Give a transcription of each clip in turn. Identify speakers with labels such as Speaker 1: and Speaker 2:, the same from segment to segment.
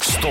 Speaker 1: Stå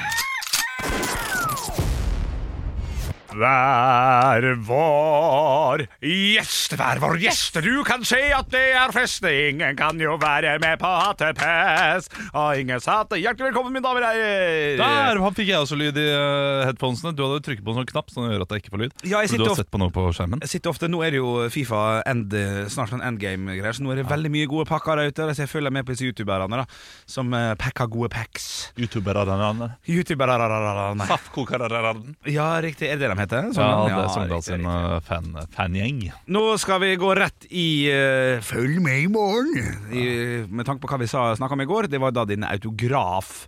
Speaker 2: Hver vår gjest, hver vår gjest, du kan se at det er fest. Ingen kan jo være med på hattepest. Og ingen satte hjertelig velkommen, mine damer og herrer.
Speaker 3: Der han fikk jeg også lyd i eh, headphonesene. Du hadde jo trykket på en sånn knapp som gjør at jeg ikke får lyd.
Speaker 2: Ja, jeg
Speaker 3: For
Speaker 2: sitter
Speaker 3: du
Speaker 2: og-
Speaker 3: har sett på noe på skjermen.
Speaker 2: Jeg sitter ofte, Nå er det jo Fifa end, snart sånn endgame-greier, så nå er det veldig mye gode pakker der ute. Så jeg følger med på disse youtuberne da, som eh, pakker gode packs.
Speaker 3: Youtuberne.
Speaker 2: Youtubere nei.
Speaker 3: Safkokararararen.
Speaker 2: Ja, riktig. Er det det de heter?
Speaker 3: Ja,
Speaker 2: Sånn,
Speaker 3: det er
Speaker 2: riktig,
Speaker 3: Sogndal sin
Speaker 2: riktig.
Speaker 3: eh, fan, fangjeng.
Speaker 2: Nå skal vi gå rett i eh, Følg med i morgen! I, med tanke på hva vi snakka om i går, det var da din autograf.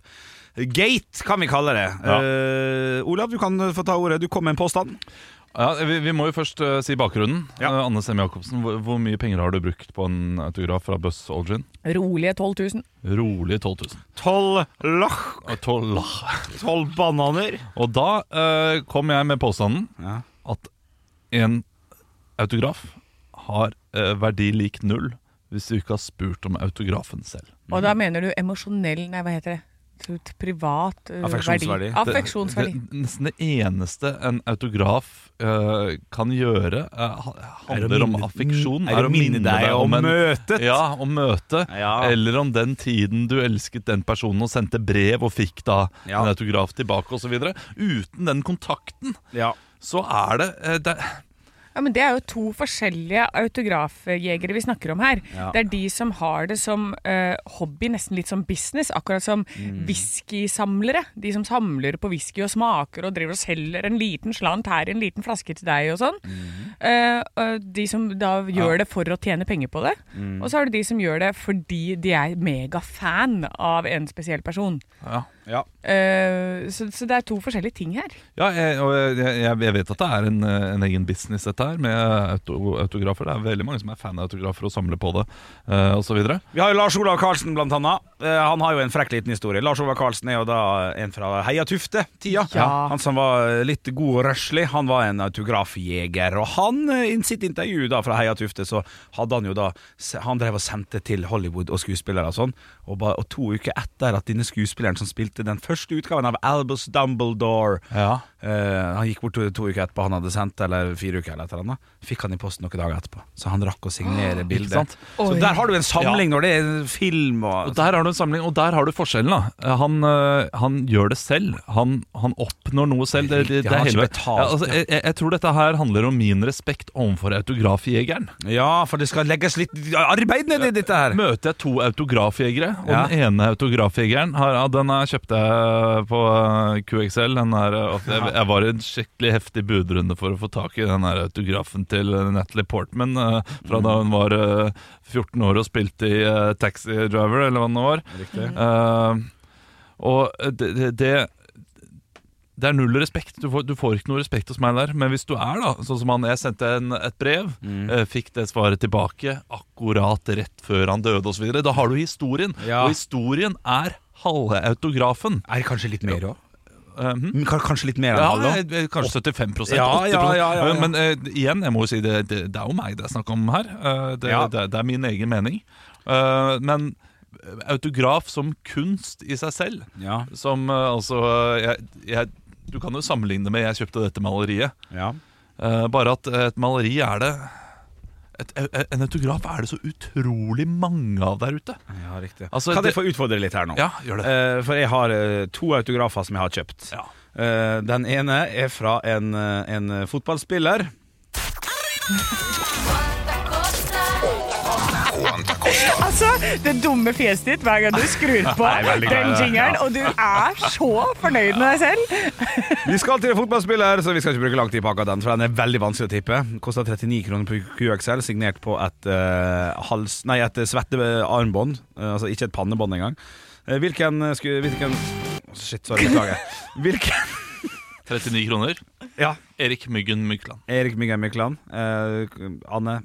Speaker 2: Gate, kan vi kalle det.
Speaker 3: Ja.
Speaker 2: Eh, Olav, du kan få ta ordet. Du kom med en påstand.
Speaker 3: Ja, vi, vi må jo først eh, si bakgrunnen.
Speaker 2: Ja.
Speaker 3: Eh, Anne Semme Jacobsen, hvor, hvor mye penger har du brukt på en autograf fra Buzz Aldrin?
Speaker 4: Rolige 12 000.
Speaker 3: Rolig 12 000.
Speaker 2: Tolv lach,
Speaker 3: Eh, tolv.
Speaker 2: tolv bananer.
Speaker 3: Og da eh, kom jeg med påstanden
Speaker 2: Ja.
Speaker 3: at en autograf har eh, verdi lik null hvis du ikke har spurt om autografen selv.
Speaker 4: Og
Speaker 2: Mhm.
Speaker 4: da mener du emosjonell Nei, hva heter det? Så t- Privat eh,
Speaker 2: Affeksjonsverdi.
Speaker 4: verdi. Affeksjonsverdi.
Speaker 3: Det, det, nesten det eneste en autograf eh, kan gjøre, eh, ha- handler om affeksjon.
Speaker 2: Er å minne deg om
Speaker 3: en-
Speaker 2: møtet.
Speaker 3: Ja, om møte.
Speaker 2: Ja.
Speaker 3: Eller om den tiden du elsket den personen og sendte brev og fikk da
Speaker 2: Ja.
Speaker 3: en autograf tilbake osv. Uten den kontakten
Speaker 2: Ja.
Speaker 3: så er det, eh, det
Speaker 4: Ja, men det er jo to forskjellige autografjegere vi snakker om her.
Speaker 2: Ja.
Speaker 4: Det er de som har det som eh, hobby, nesten litt som business. Akkurat som
Speaker 2: Mm.
Speaker 4: whiskysamlere. De som samler på whisky og smaker og driver og selger en liten slant her, en liten flaske til deg og sånn.
Speaker 2: Mm.
Speaker 4: Eh, og de som da gjør det for å tjene penger på det.
Speaker 2: Mm.
Speaker 4: Og så har du de som gjør det fordi de er megafan av en spesiell person.
Speaker 3: ja.
Speaker 2: ja.
Speaker 4: Eh, så, så det er to forskjellige ting her.
Speaker 3: Ja, jeg, og jeg, jeg, jeg vet at det er en, eh, en egen business dette her med auto, autografer. Det er veldig mange som er fan av autografer og samler på det eh, og så videre
Speaker 2: Vi har jo Lars Olav Karlsen, blant annet. Eh, han har jo en frekk liten historie. Lars Olav Karlsen er jo da en fra Heia Tufte-tida.
Speaker 4: Ja.
Speaker 2: Han som var litt god og røslig. Han var en autografjeger. Og han, eh, i sitt intervju da fra Heia Tufte, så hadde han jo da Han drev og sendte til Hollywood og skuespillere og sånn. Og, ba, og to uker etter at denne skuespilleren som spilte den første utgaven av Albus Dumbledore
Speaker 3: Ja.
Speaker 2: eh, Han gikk bort to, to uker etterpå, han hadde sendt, eller fire uker eller et eller annet. Fikk han i posten noen dager etterpå. Så han rakk å signere bildet.
Speaker 3: sant?
Speaker 2: Så
Speaker 4: Oi.
Speaker 2: der har du en samling når det er film og
Speaker 3: Og Der har du en samling, og der har du forskjellen. da Han, eh, han gjør det selv. Han, han oppnår noe selv. Det, det,
Speaker 2: Riktig,
Speaker 3: det er
Speaker 2: han har
Speaker 3: hele
Speaker 2: ikke
Speaker 3: veien.
Speaker 2: betalt,
Speaker 3: ja, altså, jeg, jeg- jeg tror dette her handler om min respekt overfor autografjegeren.
Speaker 2: Ja, for det skal legges litt arbeid ned i dette her.
Speaker 3: Møter jeg to autografjegere, og
Speaker 2: Ja.
Speaker 3: den ene autografjegeren har, ja, Den her kjøpte jeg på eh, QXL. Den her, eh, at jeg, jeg var i en skikkelig heftig budrunde for å få tak i den her autografen til eh, Natalie Portman eh, fra da hun var eh, 14 år og spilte i eh, Taxi Driver, eller hva det nå var.
Speaker 2: Mm.
Speaker 3: Eh, og det, det, det det er null respekt. Du får, du får ikke noe respekt hos meg der. Men hvis du er, da, sånn som han jeg sendte en, et brev,
Speaker 2: Mm.
Speaker 3: eh, fikk det svaret tilbake akkurat rett før han døde osv., da har du historien.
Speaker 2: Ja.
Speaker 3: Og historien er halve autografen.
Speaker 2: Er det kanskje litt mer òg?
Speaker 3: Eh, hm?
Speaker 2: Kanskje litt mer enn
Speaker 3: Ja,
Speaker 2: halv òg?
Speaker 3: eh, kanskje
Speaker 2: Mm.
Speaker 3: 75
Speaker 2: Ja,
Speaker 3: 80
Speaker 2: ja, ja, ja, ja.
Speaker 3: Men eh, igjen, jeg må jo si det, det, det er jo meg det er snakk om her. Eh, det,
Speaker 2: Ja.
Speaker 3: det, det er min egen mening. Eh, men eh, autograf som kunst i seg selv
Speaker 2: Ja,
Speaker 3: som eh, altså eh, jeg, jeg, Du kan jo sammenligne med 'jeg kjøpte dette maleriet'.
Speaker 2: ja.
Speaker 3: Eh, bare at eh, et maleri er det et, eh, En autograf er det så utrolig mange av der ute.
Speaker 2: ja riktig.
Speaker 3: Altså,
Speaker 2: kan jeg
Speaker 3: det-
Speaker 2: få utfordre litt her nå?
Speaker 3: Ja, gjør det.
Speaker 2: Eh, for jeg har eh, to autografer som jeg har kjøpt.
Speaker 3: Ja.
Speaker 2: Eh, den ene er fra en, eh, en fotballspiller.
Speaker 4: Altså, det dumme fjeset ditt hver gang du skrur på
Speaker 2: Nei, veldig glad i
Speaker 4: den
Speaker 2: det,
Speaker 4: jingeren, og du er så fornøyd med deg selv.
Speaker 2: Vi skal til en fotballspiller, så vi skal ikke bruke lang tid på akkurat den, for den er veldig vanskelig å tippe. Kosta 39 kroner på QXL, signert på et, eh, hals, nei, et svette armbånd. Eh, altså ikke et pannebånd engang. Eh, hvilken eh, sku... Hvilken Shit, sorry, beklager. Hvilken
Speaker 3: 39 kroner.
Speaker 2: Ja.
Speaker 3: Erik Myggen Mykland.
Speaker 2: Erik Myggen Mykland. Eh, Anne.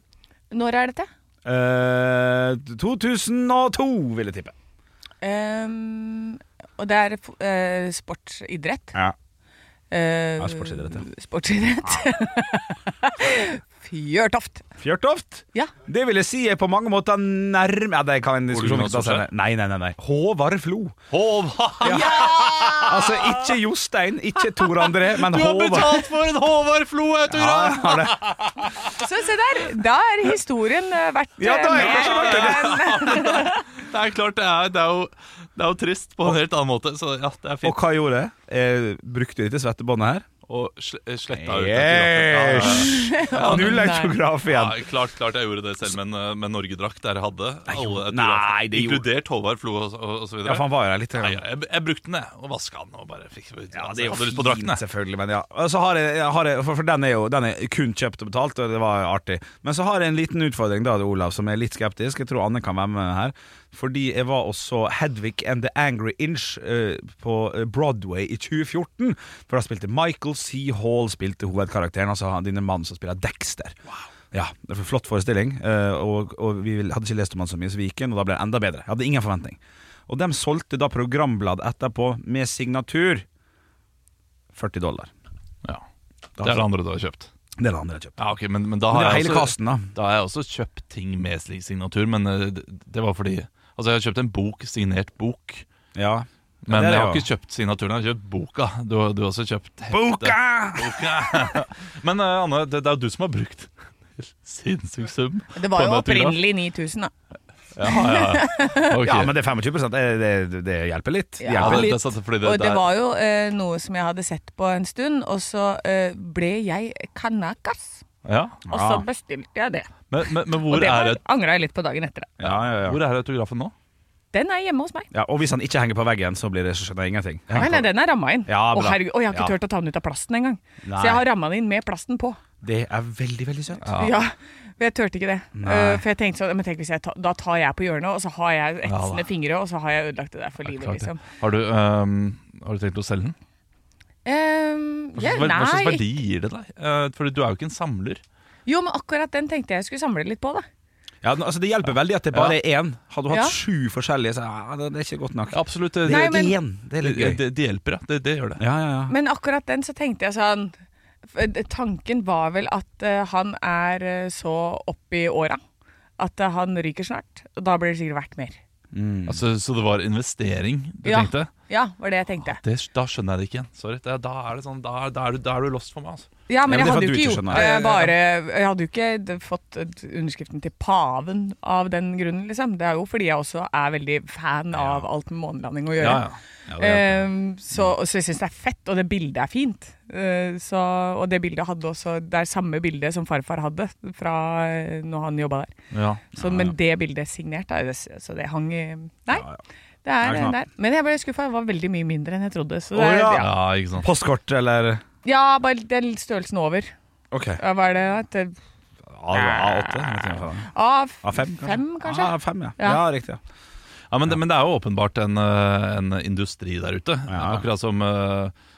Speaker 4: Når er dette?
Speaker 2: Eh, 2002, vil jeg tippe.
Speaker 4: Ehm, og det er eh, sportsidrett.
Speaker 2: Ja.
Speaker 4: Eh,
Speaker 2: Ja, sportsidrett, ja.
Speaker 4: Sportsidrett. Fjørtoft.
Speaker 2: Fjørtoft?
Speaker 4: Ja.
Speaker 2: Det vil jeg si er på mange måter nærme Ja, det kan en diskusjon
Speaker 3: Ole Jonas
Speaker 2: ikke ta seg ned. Nei, nei, nei, nei. Håvard Flo.
Speaker 3: Håvard!
Speaker 2: Altså ikke Jostein, ikke Tor André, men
Speaker 3: Du har
Speaker 2: Håvard.
Speaker 3: betalt for en Håvard
Speaker 2: Ja,
Speaker 3: Flo-autograf!
Speaker 2: jeg har det.
Speaker 4: Så se der, da er historien eh, vært
Speaker 2: Ja, da er
Speaker 4: eh,
Speaker 2: kanskje
Speaker 4: med.
Speaker 3: Det er klart, det er, det, er jo, det er jo trist på en helt annen måte. Så ja, det er
Speaker 2: Og
Speaker 3: fint.
Speaker 2: hva gjorde jeg? jeg? Brukte dette svettebåndet her.
Speaker 3: Og sl sletta ut autografen. Ja,
Speaker 2: Yes! Null autograf
Speaker 3: Ja,
Speaker 2: igjen.
Speaker 3: ja, klart, klart jeg gjorde det selv, men eh, med Norgedrakt der jeg hadde alle autografer,
Speaker 2: nei, det gjorde-
Speaker 3: inkludert Håvard Flo og, og, og så videre.
Speaker 2: Ja, for han var jo her litt.
Speaker 3: Nei, ja, jeg, jeg brukte den, jeg, og vaska den. og bare fikk
Speaker 2: Ja,
Speaker 3: altså, jeg hadde lyst på drakten, jeg.
Speaker 2: selvfølgelig, men ja. Og Så har jeg, jeg har jeg, for, for den er jo den er kun kjøpt og betalt, og det var artig. Men så har jeg en liten utfordring, da, Olav, som er litt skeptisk. Jeg tror Anne kan være med her. Fordi jeg var også Hedvig and The Angry Inch eh, på eh, Broadway i 2014. For da spilte Michael C. Hall spilte hovedkarakteren, altså han- denne mannen som spiller Dexter. Ja, det var en Flott forestilling, eh, og, og vi hadde ikke lest om han så mye, så vi gikk inn, og da ble det enda bedre. Jeg hadde ingen forventning. Og de solgte da programblad etterpå med signatur. 40 dollar.
Speaker 3: Ja. Det er det andre du har kjøpt.
Speaker 2: Det er det andre jeg har altså- kjøpt.
Speaker 3: Ja, ok, men, men da
Speaker 2: Men
Speaker 3: har
Speaker 2: det er
Speaker 3: jeg
Speaker 2: hele
Speaker 3: også-
Speaker 2: kasten, da.
Speaker 3: Da har jeg også kjøpt ting med slik signatur, men eh, det, det var fordi Altså, jeg har kjøpt en bok, signert bok,
Speaker 2: Ja.
Speaker 3: men
Speaker 2: det er
Speaker 3: jeg har
Speaker 2: det jo.
Speaker 3: ikke kjøpt signaturen, jeg har kjøpt boka. Du, har- du har også kjøpt heftet. Boka! men eh, Anne, det, det er jo du som har brukt sinnssyk sum.
Speaker 4: Det var
Speaker 3: på en
Speaker 4: jo
Speaker 3: autograf.
Speaker 4: opprinnelig 9000, da.
Speaker 3: Ja, ja, ja. Ok.
Speaker 2: Ja, men det er 25 det, det, det hjelper litt. Det
Speaker 4: Ja,
Speaker 3: Ja,
Speaker 2: hjelper
Speaker 3: det,
Speaker 2: litt.
Speaker 3: det, er sant, fordi det,
Speaker 4: Og det
Speaker 3: er-
Speaker 4: var jo eh, noe som jeg hadde sett på en stund, og så eh, ble jeg kanakas.
Speaker 3: ja.
Speaker 4: Og så
Speaker 2: Ja.
Speaker 4: bestilte jeg det.
Speaker 3: Men, men, men
Speaker 4: Og
Speaker 3: Ah. hvor,
Speaker 4: det
Speaker 3: er,
Speaker 4: var- angra jeg litt på dagen etter. det.
Speaker 2: Ja, ja, ja.
Speaker 3: hvor er autografen nå?
Speaker 4: Den er hjemme hos meg.
Speaker 2: Ja, og hvis han ikke henger på veggen, så blir det, så skjønner jeg ingenting.
Speaker 4: Nei, nei, den er ramma inn.
Speaker 2: Ja,
Speaker 4: og,
Speaker 2: bra.
Speaker 4: herregud, og jeg har ikke
Speaker 2: Ja.
Speaker 4: turt å ta den ut av plasten engang.
Speaker 2: Nei.
Speaker 4: Så jeg har ramma den inn med plasten på.
Speaker 2: Det er veldig, veldig søtt.
Speaker 3: Ah.
Speaker 4: Ja, men Jeg turte ikke det.
Speaker 2: Nei.
Speaker 4: Eh, for jeg tenkte sånn men tenk hvis jeg ta, Da tar jeg på hjørnet, og så har jeg
Speaker 3: Ja,
Speaker 4: etsende
Speaker 3: da.
Speaker 4: fingre, og så har jeg ødelagt det der for livet,
Speaker 3: Klart det.
Speaker 4: liksom.
Speaker 3: Har du, ehm, har du tenkt å selge den?
Speaker 4: Ehm,
Speaker 3: Hva
Speaker 4: ja,
Speaker 3: slags, hva slags
Speaker 4: nei.
Speaker 3: verdi gir det deg? Eh, Fordi du er jo ikke en samler.
Speaker 4: Jo, men akkurat den tenkte jeg jeg skulle samle litt på, da.
Speaker 2: Ja, altså, det hjelper veldig at det bare er én. Hadde du hatt
Speaker 4: Ja.
Speaker 2: sju forskjellige, så ja, det, det er ikke godt nok.
Speaker 3: Absolutt. eh, Det,
Speaker 4: Nei,
Speaker 2: Det
Speaker 3: det,
Speaker 2: er
Speaker 4: men-
Speaker 2: én. Det er litt
Speaker 3: det,
Speaker 2: gøy.
Speaker 3: det, det hjelper, ja. Det, det gjør det.
Speaker 2: Ja, ja, ja.
Speaker 4: Men akkurat den så tenkte jeg sånn f- Tanken var vel at eh, han er eh, så opp i åra at eh, han ryker snart. Og da blir det sikkert verdt mer.
Speaker 2: Mm.
Speaker 3: Altså, så det var investering du
Speaker 4: Ja.
Speaker 3: tenkte?
Speaker 4: Ja, var det jeg tenkte.
Speaker 3: Det, da skjønner jeg det ikke igjen. Sorry. Det, da, er det sånn, da, er- da, er du, da er du lost for meg, altså.
Speaker 4: Ja,
Speaker 2: Ja, men det
Speaker 4: men jeg
Speaker 2: kan
Speaker 4: hadde jo
Speaker 2: du
Speaker 4: ikke
Speaker 2: ikke
Speaker 4: gjort
Speaker 2: skjønne.
Speaker 4: det
Speaker 2: Ja, ja, ja.
Speaker 4: bare Jeg hadde jo ikke d- fått eh, underskriften til paven av den grunnen, liksom. Det er jo fordi jeg også er veldig fan av alt med månelanding å gjøre.
Speaker 2: Ja, det er-
Speaker 4: Ehm, så, så jeg syns det er fett, og det bildet er fint. Eh, så, og det bildet hadde også Det er samme bildet som farfar hadde fra eh, når han jobba der.
Speaker 3: Ja.
Speaker 4: Så, Men det bildet er signert, da, det- så det hang i Nei.
Speaker 2: ja.
Speaker 4: Det
Speaker 2: Nei,
Speaker 4: er det
Speaker 2: sant.
Speaker 4: der. Men jeg ble skuffa. Det var veldig mye mindre enn jeg trodde. Så det
Speaker 2: Å,
Speaker 4: er,
Speaker 2: ja.
Speaker 4: ja.
Speaker 3: ja, ikke sant.
Speaker 2: Postkort eller
Speaker 4: ja, bare den størrelsen over.
Speaker 2: OK.
Speaker 4: Ja, Hva er det? da? Et
Speaker 2: A8? A5,
Speaker 4: A5,
Speaker 2: kanskje? Ah,
Speaker 4: kanskje?
Speaker 2: A5, ja.
Speaker 4: Ja.
Speaker 2: ja. Riktig. ja.
Speaker 3: Ja, men, det, men det er jo åpenbart en, eh, en industri der ute.
Speaker 2: Ja.
Speaker 3: Akkurat som eh,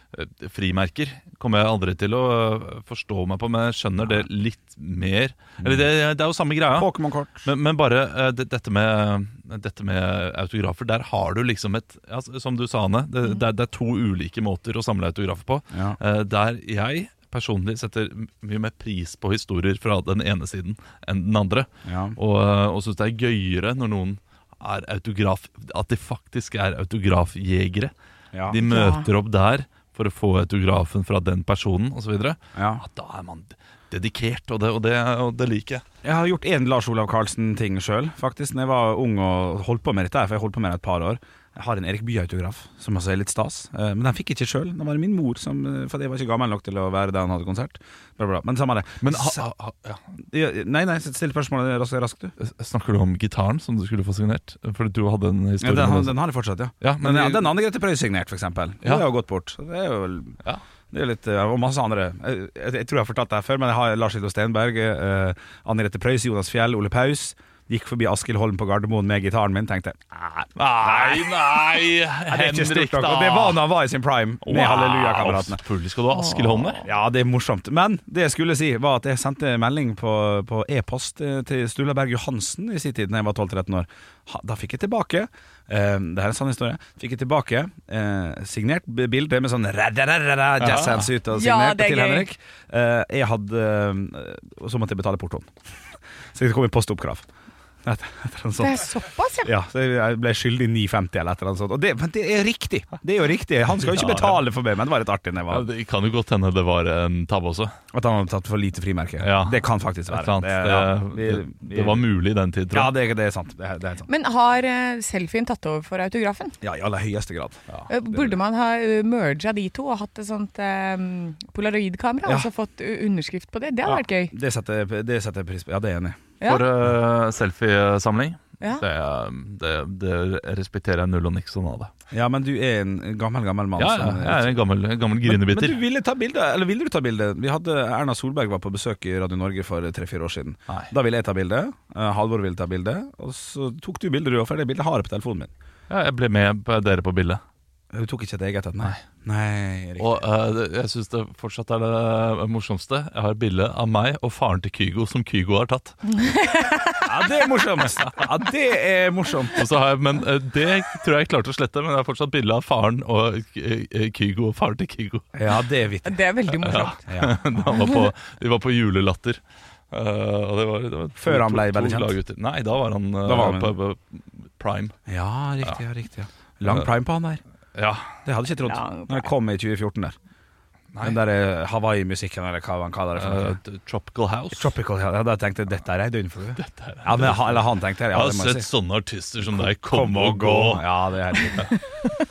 Speaker 3: frimerker kommer jeg aldri til å eh, forstå meg på, men jeg skjønner det litt mer.
Speaker 2: Mm.
Speaker 3: Eller det, det er jo samme greia.
Speaker 2: Pokémon-kort.
Speaker 3: Men, men bare eh, det- dette, med, dette med autografer, der har du liksom et ja, Som du sa, Anne, det, det, er- det er to ulike måter å samle autografer på.
Speaker 2: Mm. Ja.
Speaker 3: Eh, Der jeg personlig setter m- mye mer pris på historier fra den ene siden enn den andre.
Speaker 2: Ja.
Speaker 3: Og, eh, og syns det er gøyere når noen er autograf At de faktisk er autografjegere.
Speaker 2: Ja.
Speaker 3: De møter opp der for å få autografen fra den personen osv.
Speaker 2: Ja.
Speaker 3: Da er man dedikert, og det, og det, og det liker jeg.
Speaker 2: Jeg har gjort én Lars Olav Carlsen-ting sjøl, faktisk. Når jeg var ung og holdt på med dette, her, for jeg holdt på med det et par år. Jeg har en Erik Bye-autograf, som også er litt stas. Eh, Men den fikk jeg ikke sjøl. Den var det min mor som eh, For jeg var ikke gammel nok til å være der han hadde konsert. Bla, bla. bla. Men samme det.
Speaker 3: Men ha,
Speaker 2: Så-
Speaker 3: ha, ha, ja.
Speaker 2: Ja, Nei, nei, still spørsmålet raskt. raskt du.
Speaker 3: Snakker du om gitaren som du skulle få signert? Fordi du hadde en
Speaker 2: Ja,
Speaker 3: historie
Speaker 2: den, har-
Speaker 3: med det.
Speaker 2: den har jeg fortsatt, ja.
Speaker 3: Ja,
Speaker 2: Men
Speaker 3: men,
Speaker 2: ja, den andre Grete Preus signert, for eksempel.
Speaker 3: Ja.
Speaker 2: Det har jo gått bort. Så Det er jo vel
Speaker 3: Ja.
Speaker 2: Det er litt, eh, og masse andre. Jeg, jeg, jeg tror jeg har fortalt det her før, men jeg har Lars Hildo Stenberg, eh, Anne Grete Preus, Jonas Fjell, Ole Paus. Gikk forbi Askild Holm på Gardermoen med gitaren min, tenkte jeg.
Speaker 3: Nei, nei,
Speaker 2: Ja, det er ikke
Speaker 3: Henrik,
Speaker 2: stort nok.
Speaker 3: da!
Speaker 2: Og det var når han var i sin prime med
Speaker 3: Wow,
Speaker 2: Halleluja-kameratene.
Speaker 3: Selvfølgelig skal du ha Askild Holm der.
Speaker 2: Ja, det er morsomt. Men det jeg skulle si, var at jeg sendte melding på, på e-post eh, til Sturla Berg Johansen i sin tid, da jeg var 12-13 år. Ha, da fikk jeg tilbake eh, Det her er en sann historie. Fikk jeg tilbake eh, signert b- bilde med sånn ra-ra-ra-ra, jazz hands ut og
Speaker 4: Ja,
Speaker 2: signert
Speaker 4: det er
Speaker 2: til
Speaker 4: gøy.
Speaker 2: Henrik. Eh, jeg hadde eh, Og så måtte jeg betale portoen. Så det kom en postoppkrav. Etter, etter en sånn.
Speaker 4: Det er såpass, ja.
Speaker 2: Ja, så jeg ble skyldig 9,50 eller et eller annet sånt. Og det, men det er riktig! Det er jo riktig. Han skal jo ikke
Speaker 3: Ja, ja.
Speaker 2: betale for meg, men det var litt artig. når jeg
Speaker 3: Ja,
Speaker 2: var
Speaker 3: det kan jo godt hende det var en tabbe også.
Speaker 2: At han hadde tatt for lite frimerke.
Speaker 3: Ja.
Speaker 2: Det kan faktisk
Speaker 3: Et
Speaker 2: være.
Speaker 3: eller annet.
Speaker 2: Det-
Speaker 3: Det,
Speaker 2: ja,
Speaker 3: det,
Speaker 2: vi- vi-
Speaker 3: det var mulig i den tid,
Speaker 2: Ja,
Speaker 3: tror jeg.
Speaker 2: det, det er sant. Det er, det er helt sant.
Speaker 4: Men har eh, selfien tatt over for autografen?
Speaker 2: Ja, i aller høyeste grad. Ja.
Speaker 4: Eh, Burde man ha eh, merga de to og hatt et sånt eh, polaroidkamera
Speaker 2: Ja.
Speaker 4: og så fått eh, underskrift på det? Det hadde vært gøy.
Speaker 2: Det setter, jeg- det setter jeg pris på. Ja, det er jeg enig i.
Speaker 4: Ja.
Speaker 3: For uh, selfiesamling.
Speaker 4: Ja.
Speaker 3: Det, det, det respekterer jeg null og niks av det.
Speaker 2: Ja, men du er en gammel, gammel mann.
Speaker 3: Ja, ja,
Speaker 2: som-
Speaker 3: jeg er en gammel, en gammel
Speaker 2: Men
Speaker 3: grinebiter.
Speaker 2: du ville ta bilde, eller ville du ta bilde? Vi hadde Erna Solberg var på besøk i Radio Norge for tre-fire år siden.
Speaker 3: Nei.
Speaker 2: Da ville jeg ta bilde. eh, Halvor ville ta bilde. Og så tok du bilde, du òg, for det bildet har jeg på telefonen min.
Speaker 3: Ja, jeg ble med på dere på bildet.
Speaker 2: Hun tok ikke et eget et, nei. Nei, riktig.
Speaker 3: Og eh, det- jeg syns det fortsatt er det morsomste. Jeg har et bilde av meg og faren til Kygo som Kygo har tatt.
Speaker 2: Ja, det er morsomt! Ja, det er morsomt.
Speaker 3: Og så har jeg, men eh, Det tror jeg jeg klarte å slette, men jeg har fortsatt bilde av faren og eh, eh, Kygo og faren til Kygo.
Speaker 2: Ja, det er vittig.
Speaker 4: Det er veldig morsomt.
Speaker 2: Ja.
Speaker 3: Da han var på, de var på julelatter. Eh, og det var, det var
Speaker 2: Før han ble veldig kjent?
Speaker 3: kjent? Nei, da var han, eh,
Speaker 2: Da var han-
Speaker 3: på, på prime.
Speaker 2: Ja, riktig, ja, riktig ja. Lang prime på han der
Speaker 3: Ja,
Speaker 2: Det hadde jeg ikke trodd
Speaker 4: Lang
Speaker 2: Når jeg kom i 2014 der Den der eh, Hawaii-musikken Eller hva han kaller det for
Speaker 3: eh,
Speaker 2: noe.
Speaker 3: Tropical House.
Speaker 2: Tropical Ja, da tenkte jeg Dette er ei døgnflue ja, men, han- Eller han tenkte det,
Speaker 3: jeg
Speaker 2: ja,
Speaker 3: har
Speaker 2: det må
Speaker 3: sett
Speaker 2: jeg si
Speaker 3: sånne artister som deg komme og gå.
Speaker 2: Ja, det er helt riktig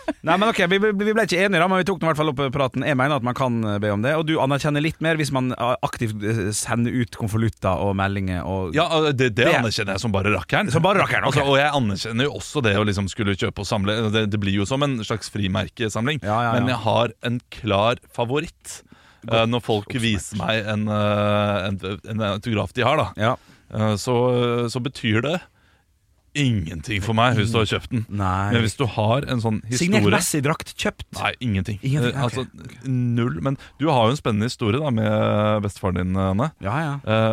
Speaker 2: Nei, men ok, vi, vi- vi ble ikke enige da Men vi tok nå i hvert fall opp praten Jeg mener at man kan eh, be om det Og du anerkjenner litt mer Hvis man eh, aktivt eh, sender ut konvolutter og meldinger og...
Speaker 3: Ja, eh, det, det
Speaker 2: Det-
Speaker 3: anerkjenner jeg som bare rakkeren.
Speaker 2: Som bare rakkeren, ok.
Speaker 3: altså, Og jeg anerkjenner jo også det å liksom skulle kjøpe og samle. Det, det blir jo som en slags frimerkesamling.
Speaker 2: Ja, ja, ja.
Speaker 3: Men jeg har en klar favoritt. Eh, når folk viser meg en, eh, en, en autograf de har, da,
Speaker 2: Ja.
Speaker 3: eh, så, så betyr det ingenting for meg hvis du har kjøpt den.
Speaker 2: Nei.
Speaker 3: Men hvis du har en sånn
Speaker 2: Signert
Speaker 3: historie
Speaker 2: messig drakt kjøpt
Speaker 3: Nei, ingenting.
Speaker 2: Ingenting, ok,
Speaker 3: Eh, altså, Null. Men du har jo en spennende historie da med bestefaren din, Anne.
Speaker 2: Ja, ja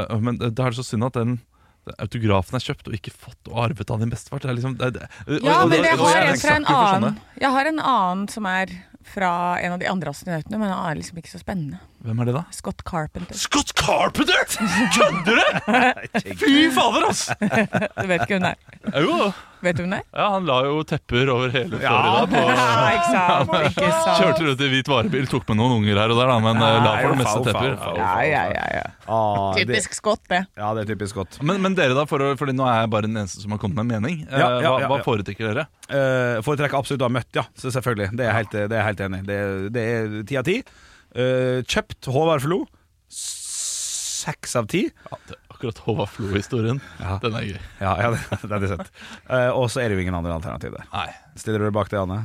Speaker 3: Eh, men da er det så synd at den autografen er kjøpt og ikke fått og arvet av din bestefar. Det er liksom, det, det, og-
Speaker 4: Ja,
Speaker 3: og-
Speaker 4: men jeg
Speaker 3: og- og- og-
Speaker 4: har en fra en
Speaker 3: snakker for
Speaker 4: annen. Jeg har en annen som er fra en av de andre astronautene, men han er liksom ikke så spennende.
Speaker 3: sånne. Hvem er det, da?
Speaker 4: Scott Carpenter.
Speaker 3: Scott Carpenter! Kødder du?! Fy fader, ass!
Speaker 4: Du vet ikke hvem det er?
Speaker 3: Jo,
Speaker 4: Vet du hvem det er?
Speaker 3: ja, han la jo tepper over hele Florida. På,
Speaker 4: Ja, ikke sant? Ikke sant?
Speaker 3: kjørte rundt i hvit varebil, tok med noen unger her og der, da, men eh, la for det meste tepper.
Speaker 4: Ja, ja, ja, ja.
Speaker 2: Ah, det-
Speaker 4: Typisk Scott, det.
Speaker 2: Ja, det er typisk godt.
Speaker 3: Men, men dere, da? For, å- fordi nå er jeg bare den eneste som har kommet med en mening. Eh,
Speaker 2: Ja, ja,
Speaker 3: hva,
Speaker 2: ja,
Speaker 3: hva
Speaker 2: ja.
Speaker 3: foretrekker dere?
Speaker 2: Uh, foretrekker absolutt å ha møtt, ja. Så selvfølgelig. Det er jeg helt, det er jeg helt enig i. Det, er- det er ti av ti. Eh, kjøpt Håvard Flo. S- Seks av ti.
Speaker 3: Ja, det, akkurat Håvard Flo-historien, den er gøy.
Speaker 2: Ja, ja det, det er det sett. Eh, og så er det jo ingen andre alternativ der.
Speaker 3: Nei.
Speaker 2: Stiller du deg bak det, Anne?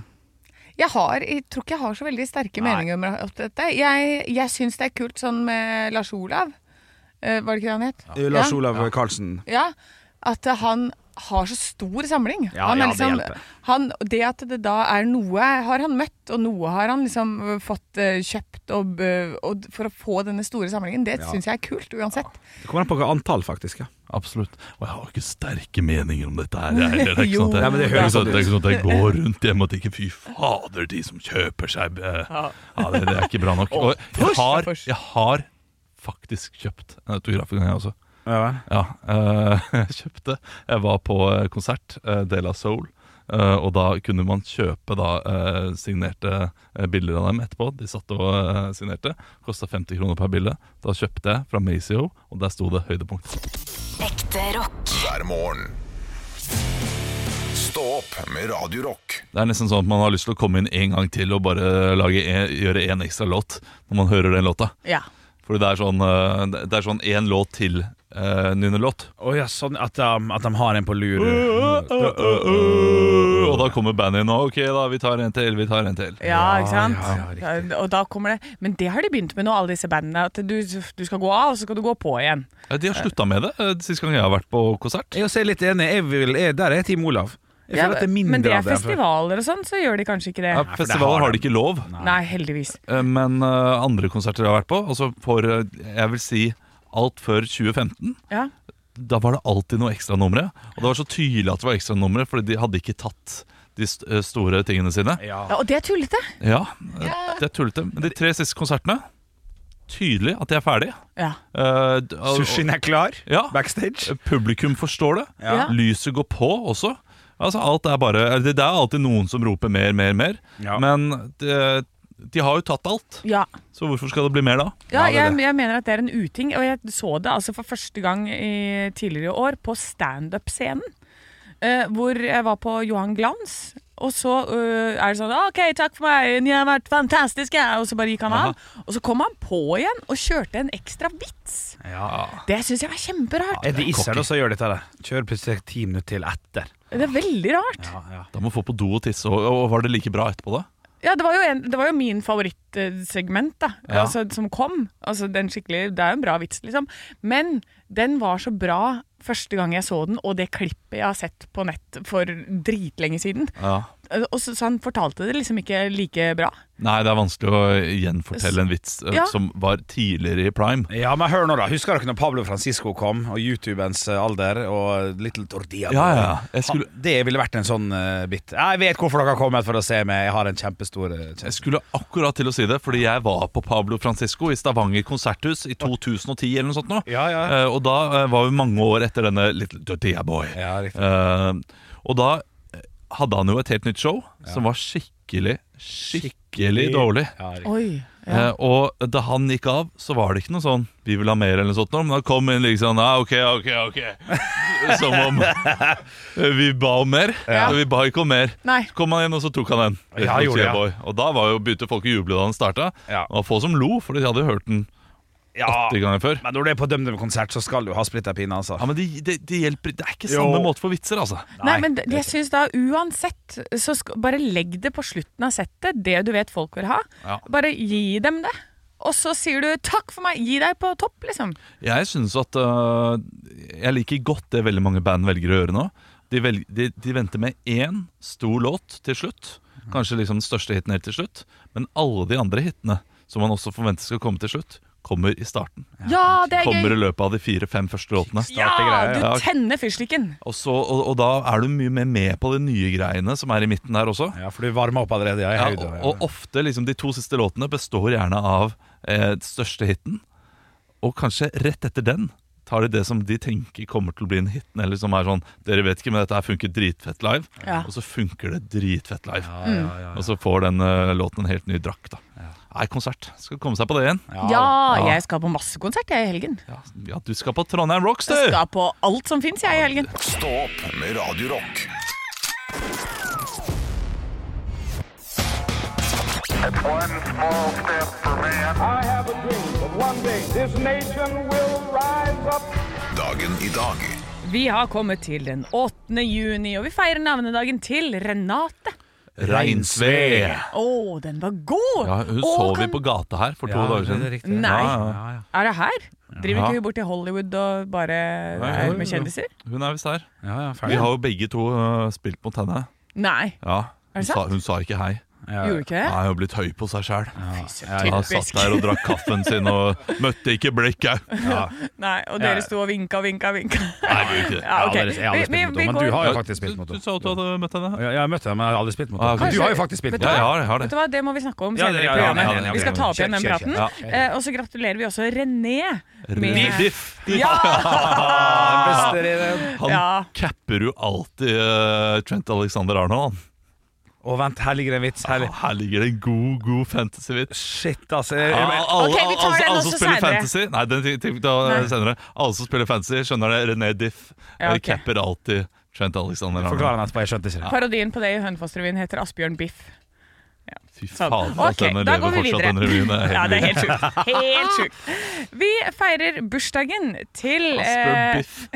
Speaker 4: Jeg, har, jeg tror ikke jeg har så veldig sterke
Speaker 2: Nei.
Speaker 4: meninger om alt dette. Jeg, jeg syns det er kult sånn med Lars Olav. Eh, var det ikke det han het?
Speaker 2: Eh, Lars Olav Karlsen.
Speaker 4: Ja, At eh, han har så stor samling.
Speaker 2: Ja,
Speaker 4: han
Speaker 2: ja,
Speaker 4: er
Speaker 2: det
Speaker 4: liksom,
Speaker 2: hjelper.
Speaker 4: han, det at det da er noe har han møtt, og noe har han liksom eh, fått eh, kjøpt og, eh, og for å få denne store samlingen, det syns jeg er kult uansett.
Speaker 2: Det kommer an på hva antall, faktisk. ja
Speaker 3: Absolutt. Og jeg har jo ikke sterke meninger om dette her. jeg heller. Det er ikke
Speaker 4: Jo.
Speaker 3: sånn at jeg,
Speaker 4: Nei,
Speaker 3: det
Speaker 4: men
Speaker 2: det
Speaker 3: er ikke
Speaker 2: høres
Speaker 3: sånn,
Speaker 2: sånn
Speaker 3: det er ikke sånn at jeg går rundt hjemme og tenker 'fy fader, de som kjøper seg eh, Ja, det, det er ikke bra nok. Og jeg har,
Speaker 4: Først.
Speaker 3: jeg har faktisk kjøpt en autograf en gang, jeg også.
Speaker 2: Ja,
Speaker 3: Ja, eh, jeg kjøpte Jeg var på eh, konsert, eh, De La Soul. eh, og da kunne man kjøpe da, eh, signerte eh, bilder av dem etterpå. De satt og eh, signerte. Kosta 50 kroner per bilde. Da kjøpte jeg fra Maceo, og der sto det høydepunkt.
Speaker 5: Ekte rock.
Speaker 1: hver morgen. Stå opp med Radio Rock.
Speaker 3: Det er nesten sånn at man har lyst til å komme inn en gang til og bare lage en, gjøre en ekstra låt når man hører den låta.
Speaker 4: Ja.
Speaker 3: For det er sånn eh, Det er sånn én låt til uh, nynne-låt.
Speaker 2: Å ja, sånn at de, at de har en på lur.
Speaker 3: Og da kommer bandet inn og OK, da, vi tar en til, vi tar en til.
Speaker 4: Ja, ikke sant?
Speaker 2: ja, ja, riktig.
Speaker 4: Da- og da kommer det Men det har de begynt med nå, alle disse bandene. At du, du skal gå av, og så skal du gå på igjen.
Speaker 3: Eh, De har slutta med det eh, sist gang jeg har vært på konsert.
Speaker 2: Jeg også er litt enig. Jeg vil, jeg, der er jeg Team Olav. Jeg føler
Speaker 4: Ja,
Speaker 2: at det er mindre
Speaker 4: men det
Speaker 2: av
Speaker 4: er
Speaker 2: det enn før.
Speaker 4: festivaler og sånn, så gjør de kanskje ikke det.
Speaker 3: Ja,
Speaker 2: for det har
Speaker 3: festivaler har de ikke lov,
Speaker 4: Nei, heldigvis.
Speaker 3: eh, men eh, andre konserter jeg har vært på, altså for eh, jeg vil si alt før 2015,
Speaker 4: Ja.
Speaker 3: da var det alltid noe ekstranumre. Og det var så tydelig at det var ekstranumre, Fordi de hadde ikke tatt de st eh, store tingene sine.
Speaker 2: Ja.
Speaker 4: Ja, og det er tullete.
Speaker 3: Ja, eh, det er tullete. Men de tre siste konsertene Tydelig at de er ferdige.
Speaker 4: Ja.
Speaker 3: Eh, d- og-
Speaker 2: Sushien er klar
Speaker 3: Ja.
Speaker 2: backstage.
Speaker 3: Eh, Publikum forstår det.
Speaker 4: Ja.
Speaker 3: Lyset går på også. Altså alt er bare eller Det det er alltid noen som roper mer, mer, mer.
Speaker 2: Ja.
Speaker 3: Men de, de har jo tatt alt,
Speaker 4: Ja.
Speaker 3: så hvorfor skal det bli mer da?
Speaker 4: Ja,
Speaker 2: Ja, det er
Speaker 4: jeg, jeg mener at det er en uting, og jeg så det altså for første gang i, tidligere i år på standup-scenen. eh, hvor jeg var på Johan Glans, og så eh, er det sånn OK, takk for meg, ni har vært fantastiske, og så bare gikk han av. Og så kom han på igjen og kjørte en ekstra vits.
Speaker 2: Ja.
Speaker 4: Det syns jeg var kjemperart.
Speaker 2: Eddie Isser også gjør dette. der. Kjør plutselig ti minutter til etter.
Speaker 4: Det er veldig rart.
Speaker 2: Ja, ja.
Speaker 3: Da må vi få på do og tisse. Og, og var det like bra etterpå, da?
Speaker 4: Ja, det var jo, en, det var jo min favorittsegment, da.
Speaker 3: Ja.
Speaker 4: Altså, som kom. Altså, den skikkelig, det er jo en bra vits, liksom. Men den var så bra første gang jeg så den, og det klippet jeg har sett på nett for dritlenge siden.
Speaker 3: Ja.
Speaker 4: Og så, så han fortalte det liksom ikke like bra.
Speaker 3: Nei, det er vanskelig å gjenfortelle en vits eh,
Speaker 4: Ja.
Speaker 3: som var tidligere i prime.
Speaker 2: Ja, men hør nå da Husker dere når Pablo Francisco kom, og YouTubens eh, alder og Little Tordia?
Speaker 3: Ja, ja, ja. Jeg skulle-
Speaker 2: Ha- Det ville vært en sånn eh, bit. Jeg vet hvorfor dere har kommet for å se meg. Jeg har en kjempestor eh,
Speaker 3: Jeg
Speaker 2: kjempe...
Speaker 3: skulle akkurat til å si det, fordi jeg var på Pablo Francisco i Stavanger konserthus i 2010 eller noe sånt nå.
Speaker 2: Ja, ja.
Speaker 3: Eh, og da eh, var vi mange år etter denne Little Dirtia Boy.
Speaker 2: Ja, riktig.
Speaker 3: Eh, og da eh, hadde han jo et helt nytt show som var skikkelig, skikkelig, dårlig.
Speaker 2: Ja, riktig.
Speaker 4: Oi.
Speaker 3: Eh, og da han gikk av, så var det ikke noe sånn 'vi vil ha mer' eller noe sånt, nå, men han kom inn liksom ah, 'ok, ok, ok'. Som om eh, vi ba om mer.
Speaker 4: Ja.
Speaker 3: Vi ba ikke om mer.
Speaker 4: Nei.
Speaker 3: Så kom han inn, og så tok han den.
Speaker 2: Ja, gjorde det, ja.
Speaker 3: Boy. Og da var jo, begynte folk å juble da han starta.
Speaker 2: Ja.
Speaker 3: Og få som lo, for de hadde jo hørt den
Speaker 2: Ja,
Speaker 3: 80 ganger før.
Speaker 2: Men når du er på DumDum-konsert, så skal du ha splitter pinne, altså.
Speaker 3: Ja, men det de, de hjelper Det er ikke
Speaker 2: Jo.
Speaker 3: samme måte for vitser, altså.
Speaker 4: Nei,
Speaker 2: Nei,
Speaker 4: men det- jeg syns da uansett så sk bare legg det på slutten av settet, det du vet folk vil ha.
Speaker 3: Ja.
Speaker 4: Bare gi dem det. Og så sier du 'takk for meg', gi deg på topp, liksom.
Speaker 3: Jeg syns at øh, Jeg liker godt det veldig mange band velger å gjøre nå. De, velg, de, de venter med én stor låt til slutt. Kanskje liksom den største hiten helt til slutt. Men alle de andre hitene som man også forventer skal komme til slutt, kommer i starten.
Speaker 4: Ja, det er
Speaker 3: Kommer i
Speaker 4: gøy!
Speaker 3: løpet av de fire-fem første låtene.
Speaker 4: Ja,
Speaker 2: greier,
Speaker 4: du
Speaker 3: ja.
Speaker 4: tenner fyrstikken.
Speaker 3: Og, så, og, og da er du mye mer med på de nye greiene som er i midten her også.
Speaker 2: Ja, for du varmer opp allerede. Ja, i
Speaker 3: Ja,
Speaker 2: hodet,
Speaker 3: og,
Speaker 2: ja.
Speaker 3: og ofte liksom de to siste låtene består gjerne av eh, den største hiten, og kanskje rett etter den tar de det som de tenker kommer til å bli en hit, eller som er sånn Dere vet ikke, men dette her funker dritfett live.
Speaker 4: Ja.
Speaker 3: Og så funker det dritfett live. Og så får den eh, låten en helt ny drakt, da. Nei, konsert. Skal komme seg på det igjen.
Speaker 4: Ja, jeg skal på masse konsert jeg i helgen.
Speaker 3: Ja, ja du skal på Trondheim Rocks, du!
Speaker 4: Jeg skal på alt som fins jeg i helgen.
Speaker 1: Stå opp med Radio Rock.
Speaker 6: One small step for man.
Speaker 7: I have a dream that one day this nation will rise up.
Speaker 1: Dagen i dag.
Speaker 4: Vi har kommet til den 8. juni, og vi feirer navnedagen til Renate.
Speaker 3: Reinsve!
Speaker 4: Å, den var god!
Speaker 3: Ja, hun
Speaker 4: Å,
Speaker 3: så vi
Speaker 4: kan-
Speaker 3: på gata her for to
Speaker 2: Ja,
Speaker 3: dager siden.
Speaker 2: det er riktig.
Speaker 4: Nei.
Speaker 3: Ja, ja, ja.
Speaker 4: Er det her? Driver
Speaker 3: Ja.
Speaker 4: ikke hun bort til Hollywood og bare
Speaker 3: Nei,
Speaker 4: er med kjendiser?
Speaker 3: Hun er visst her.
Speaker 2: Ja, ja,
Speaker 3: Vi
Speaker 2: ferdig.
Speaker 3: har jo begge to øh, spilt mot henne.
Speaker 4: Nei,
Speaker 3: Ja. Hun,
Speaker 4: det
Speaker 3: sa,
Speaker 4: sant?
Speaker 3: hun sa ikke hei.
Speaker 2: Ja,
Speaker 4: gjorde ikke
Speaker 3: Nei,
Speaker 4: det?
Speaker 3: hun har blitt høy på seg sjæl.
Speaker 2: ja.
Speaker 3: Hun satt
Speaker 4: Typisk.
Speaker 3: der og drakk kaffen sin og møtte ikke blikket.
Speaker 2: Ja.
Speaker 4: Nei, og
Speaker 2: Ja.
Speaker 4: dere sto og vinka, vinka, vinka.
Speaker 3: Nei, hun gjorde ikke det.
Speaker 4: Ja, ok.
Speaker 2: Jeg har aldri- jeg har aldri spilt
Speaker 4: Vi- vi-
Speaker 2: mot
Speaker 4: vi
Speaker 2: henne, men du
Speaker 4: går-
Speaker 2: har jo faktisk spilt mot
Speaker 3: Du,
Speaker 2: henne.
Speaker 3: du sa at du hadde møtt henne.
Speaker 2: Ja, jeg har møtt henne, men jeg har aldri spilt mot
Speaker 3: Ah,
Speaker 2: henne. Men
Speaker 3: ok.
Speaker 2: du har jo faktisk spilt
Speaker 4: Vet
Speaker 2: mot
Speaker 4: du
Speaker 3: Ja,
Speaker 2: henne.
Speaker 3: jeg har det. Jeg har
Speaker 4: Vet du
Speaker 3: det.
Speaker 4: hva, det må vi snakke om
Speaker 2: Ja,
Speaker 4: senere
Speaker 2: det- ja,
Speaker 4: i
Speaker 2: ja, ja, ja, ja,
Speaker 4: programmet.
Speaker 2: ja.
Speaker 4: Vi skal ta opp igjen den
Speaker 2: Kjør, kjør,
Speaker 4: praten.
Speaker 2: kjør.
Speaker 4: Eh, Og så gratulerer vi også René
Speaker 3: Biff,
Speaker 4: med
Speaker 3: biff.
Speaker 4: Ja!
Speaker 2: Bester i den.
Speaker 3: Han
Speaker 4: Ja.
Speaker 3: capper jo alltid eh, Trent Alexander Arnold.
Speaker 2: Å, vent, her ligger det en vits.
Speaker 3: han.
Speaker 2: Her.
Speaker 3: Her ligger det en god, god fantasy-vits.
Speaker 2: Shit, altså. Jeg,
Speaker 3: Ja,
Speaker 2: jeg,
Speaker 3: alle,
Speaker 2: jeg,
Speaker 4: Ok, vi tar
Speaker 3: alle-
Speaker 4: den
Speaker 3: alle
Speaker 4: også
Speaker 3: som spiller
Speaker 4: senere.
Speaker 3: fantasy Nei, den tenker jeg da
Speaker 4: Nei.
Speaker 3: senere. Alle som spiller fantasy, skjønner det. René Diff
Speaker 4: Ja,
Speaker 3: eh,
Speaker 4: ok.
Speaker 3: capper alltid Trent Alexander
Speaker 2: Forklar
Speaker 3: Arnold.
Speaker 2: den etterpå. Jeg skjønte ikke det.
Speaker 4: Parodien på det i Hønefoss-revyen heter Asbjørn Biff.
Speaker 3: Fy
Speaker 4: Sånn.
Speaker 3: fader, at
Speaker 4: Ok,
Speaker 3: denne
Speaker 4: da
Speaker 3: lever
Speaker 4: går vi
Speaker 3: fortsatt,
Speaker 4: videre.
Speaker 3: den revyen. er helt
Speaker 4: Ja, det er
Speaker 3: vild.
Speaker 4: helt sjukt. Helt sjukt. Vi feirer bursdagen til eh,
Speaker 3: Asbjørn Biff.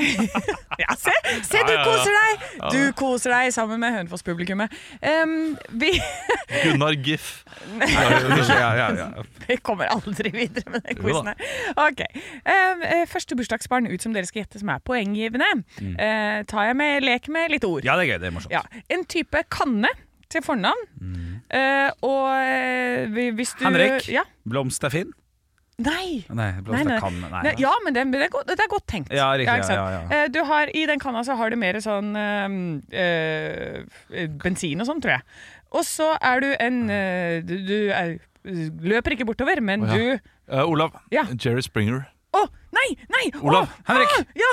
Speaker 4: Ja, se, se,
Speaker 3: Ja,
Speaker 4: du
Speaker 3: ja, ja.
Speaker 4: koser deg! Du koser deg sammen med Hønefoss-publikummet. Em, vi
Speaker 3: Gunnar Giff.
Speaker 2: Ja, ja, ja.
Speaker 4: Vi kommer aldri videre med den
Speaker 3: Jo
Speaker 4: quizen
Speaker 3: da.
Speaker 4: her. Ok. Em, eh, første bursdagsbarn ut som dere skal gjette som er poenggivende,
Speaker 3: Mm.
Speaker 4: Eh, tar jeg med lek med litt ord.
Speaker 2: ja, det er gøy. Det er morsomt.
Speaker 4: Ja, En type kanne til
Speaker 3: Mm.
Speaker 4: fornavn. Eh, og eh, hvis du
Speaker 2: Henrik.
Speaker 4: Ja.
Speaker 2: Blomsterfinn.
Speaker 4: Nei!
Speaker 2: Nei,
Speaker 4: Nei, nei.
Speaker 2: blomsterkanne. Nei,
Speaker 4: Nei, ja, men det, men det, er godt, det er godt tenkt.
Speaker 2: Ja, riktig,
Speaker 4: ikke sant?
Speaker 2: ja, ja,
Speaker 4: Eh, Du har, I den kanna så har du mer sånn eh, eh, bensin og sånn, tror jeg. Og så er du en eh, Du, du er, løper ikke bortover, men
Speaker 3: Å, ja.
Speaker 4: du
Speaker 3: Eh, Olav.
Speaker 4: Ja.
Speaker 3: Jerry Springer.
Speaker 4: Å, nei! Nei! å,
Speaker 2: Olav, Henrik!
Speaker 4: ah,
Speaker 2: Å
Speaker 4: ja!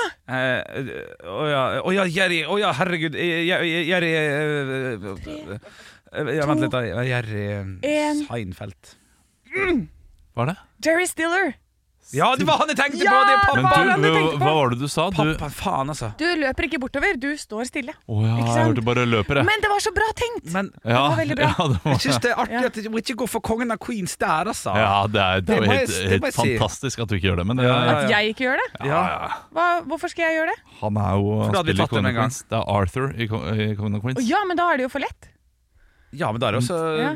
Speaker 2: ja, Eh, å ja, Jerry, å ja, herregud eh, Jer- Jerry eh, eh, eh, ja, Vent litt, da. Jerry eh,
Speaker 4: en.
Speaker 2: Seinfeld.
Speaker 3: Hva er det?
Speaker 4: Jerry Stiller.
Speaker 2: Ja, det var han jeg tenkte på!
Speaker 4: Ja,
Speaker 2: Det er
Speaker 3: Men
Speaker 2: pappa!
Speaker 4: hva
Speaker 3: du, hva,
Speaker 4: var det du tenkte på?
Speaker 3: hva var det du sa? Du
Speaker 2: Pappa, faen, altså.
Speaker 4: Du løper ikke bortover, du står stille.
Speaker 3: Å ja,
Speaker 4: Ikke
Speaker 3: jeg
Speaker 4: sant?
Speaker 3: hørte bare løper, jeg.
Speaker 4: Men det var så bra tenkt!
Speaker 2: Men
Speaker 3: ja,
Speaker 4: var veldig bra.
Speaker 3: Ja, det,
Speaker 2: jeg
Speaker 3: var,
Speaker 2: syns det er artig at hun ikke går for kongen av Queens der, altså.
Speaker 3: ja, det er, det
Speaker 2: Det
Speaker 3: er
Speaker 2: må
Speaker 3: jo
Speaker 2: jeg-
Speaker 3: helt,
Speaker 2: det må
Speaker 3: helt
Speaker 2: jeg si.
Speaker 3: fantastisk at du ikke gjør det. Men det,
Speaker 2: Ja, ja.
Speaker 4: At jeg ikke gjør det?
Speaker 2: Ja.
Speaker 4: Hva, hvorfor skal jeg gjøre det?
Speaker 3: han er jo
Speaker 2: da
Speaker 3: han
Speaker 2: hadde vi
Speaker 3: spiller i
Speaker 2: tatt dem en
Speaker 3: Kongen av
Speaker 2: gang.
Speaker 3: Queens. Det er Arthur i Ko- i Kongen av
Speaker 4: Å,
Speaker 3: Queens.
Speaker 4: ja, men da er det jo for lett.
Speaker 2: Ja, men da er det også
Speaker 4: Ja.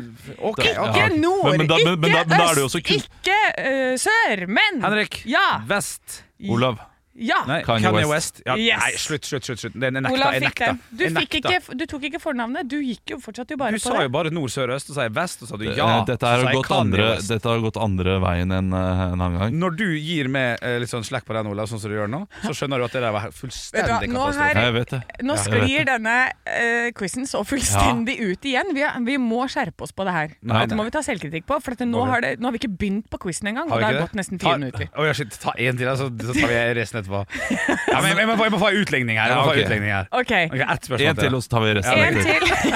Speaker 2: OK.
Speaker 4: Ikke
Speaker 2: ok.
Speaker 3: Ja.
Speaker 4: nord,
Speaker 3: Men- men da- men- men da-
Speaker 4: ikke
Speaker 3: men da er det jo
Speaker 4: øst,
Speaker 3: også kunst-
Speaker 4: ikke eh, sør, men
Speaker 2: Henrik.
Speaker 4: Ja.
Speaker 2: Vest.
Speaker 3: Olav. eh,
Speaker 4: Ja.
Speaker 2: Nei,
Speaker 3: Kanye
Speaker 2: Kanye,
Speaker 3: West.
Speaker 2: West. Ja,
Speaker 4: Yes.
Speaker 2: Nei, slutt, slutt, slutt. slutt. Det, jeg nekta,
Speaker 4: Olav
Speaker 2: jeg
Speaker 4: fikk
Speaker 2: nekta.
Speaker 4: den. Du,
Speaker 2: Jeg
Speaker 4: fikk
Speaker 2: nekta.
Speaker 4: ikke, du tok ikke fornavnet. Du gikk jo fortsatt jo bare
Speaker 2: Du
Speaker 4: på
Speaker 2: sa
Speaker 4: det.
Speaker 2: jo bare nord, sør, øst, og så sa jeg vest, og så sa du ja.
Speaker 3: Eh, dette,
Speaker 2: så
Speaker 3: har
Speaker 2: sa jeg
Speaker 3: gått
Speaker 2: Kanye
Speaker 3: andre,
Speaker 2: West.
Speaker 3: dette har gått andre veien enn eh, en annen gang.
Speaker 2: Når du gir meg eh, litt sånn slekk på den, Olav, sånn som du gjør nå, så skjønner du at det der var
Speaker 4: Vet du
Speaker 2: fullstendig
Speaker 4: hva, nå
Speaker 2: katastrofe.
Speaker 4: her-
Speaker 3: Ja, Jeg vet det.
Speaker 4: Nå
Speaker 3: Ja, jeg vet
Speaker 4: sklir denne eh, quizen så fullstendig ut igjen. Vi, er- vi må skjerpe oss på det her.
Speaker 2: Nei,
Speaker 4: Dette
Speaker 2: nei.
Speaker 4: må vi ta selvkritikk på. For at nå, har det, nå har vi ikke begynt på quizen engang, og det har gått nesten fire minutter.
Speaker 2: Å ja, shit. Ta én til, da, så, så tar vi resten etterpå. Ja, men jeg, jeg, må, få- jeg må få en utligning her. Jeg må få en
Speaker 3: Ja, ok.
Speaker 2: utligning her.
Speaker 4: Ok,
Speaker 2: Ok, ett spørsmål
Speaker 3: En til, og så tar vi resten.
Speaker 4: en til.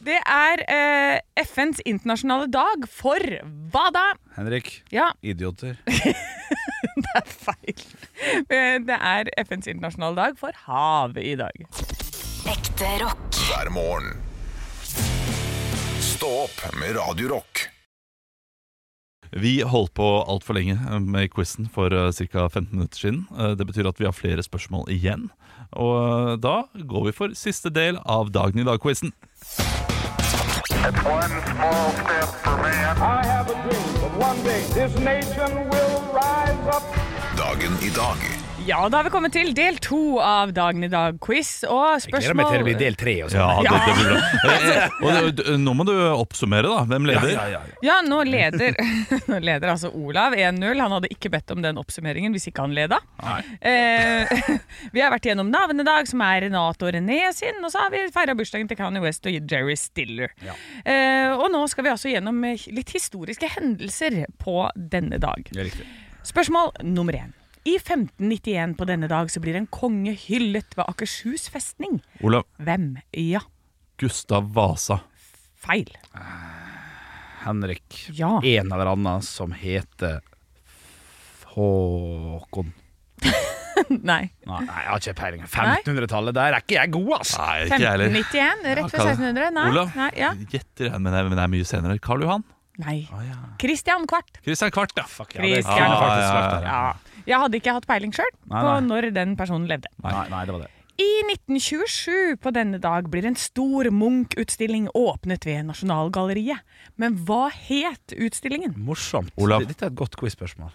Speaker 4: det er eh, FNs internasjonale dag for hva da?
Speaker 2: Henrik.
Speaker 4: Ja,
Speaker 2: Idioter.
Speaker 4: det er feil. Eh, Det er FNs internasjonale dag for havet i dag.
Speaker 5: Ekte rock.
Speaker 1: hver morgen. Stå opp med Radio Rock.
Speaker 3: Vi holdt på altfor lenge eh, med quizen for ca. 15 minutter siden. Eh, Det betyr at vi har flere spørsmål igjen. Og eh, da går vi for siste del av Dagen i dag-quizen.
Speaker 6: It's one small step for man.
Speaker 7: I have a dream that one day this nation will rise up.
Speaker 1: Dagen i dag
Speaker 4: Ja, da har vi kommet til del to av Dagen i dag-quiz. Og spørsmål
Speaker 2: Gleder meg til det blir del tre. og sånn.
Speaker 3: Ja, det, det blir bra. Eh, eh, Og det- nå må du oppsummere, da. Hvem leder?
Speaker 2: Ja, ja, ja.
Speaker 4: Ja, nå leder, nå leder altså Olav 1-0. Han hadde ikke bedt om den oppsummeringen hvis ikke han leda. Eh, vi har vært gjennom navnedag, som er Renate og René sin. Og så har vi feira bursdagen til Kanye West og Jerry Stiller. Eh, og nå skal vi altså gjennom eh, litt historiske hendelser på denne dag.
Speaker 2: Ja, riktig.
Speaker 4: Spørsmål nummer én. I 1591 på denne dag så blir en konge hyllet ved Akershus festning.
Speaker 3: Olav
Speaker 4: Hvem? Ja.
Speaker 3: Gustav Vasa.
Speaker 4: Feil.
Speaker 2: Henrik.
Speaker 4: Ja.
Speaker 2: En eller annen som heter Håkon.
Speaker 4: Nei.
Speaker 2: Nei, jeg har ikke peiling. 1500-tallet, der er ikke jeg god, altså. ass!
Speaker 3: Nei, ikke jeg heller.
Speaker 4: 1591, rett ved
Speaker 3: Ja, Karl.
Speaker 4: 1600. Nei,
Speaker 3: Olav,
Speaker 4: nei, ja.
Speaker 3: gjetter jeg, men det er- men det er mye senere. Karl Johan?
Speaker 4: Nei. Christian Kvart.
Speaker 3: Christian Kvart, ja.
Speaker 2: Ja, det
Speaker 4: Christian.
Speaker 2: kunne faktisk
Speaker 3: Ja, ja,
Speaker 2: vært det.
Speaker 4: Ja. Jeg hadde ikke hatt peiling sjøl
Speaker 2: Nei,
Speaker 4: på
Speaker 2: nei.
Speaker 4: når den personen levde.
Speaker 2: Nei, nei, det var det.
Speaker 4: I 1927 på denne dag blir en stor Munch-utstilling åpnet ved Nasjonalgalleriet. Men hva het utstillingen?
Speaker 2: Morsomt.
Speaker 3: Olav.
Speaker 2: Dette er et godt quiz-spørsmål.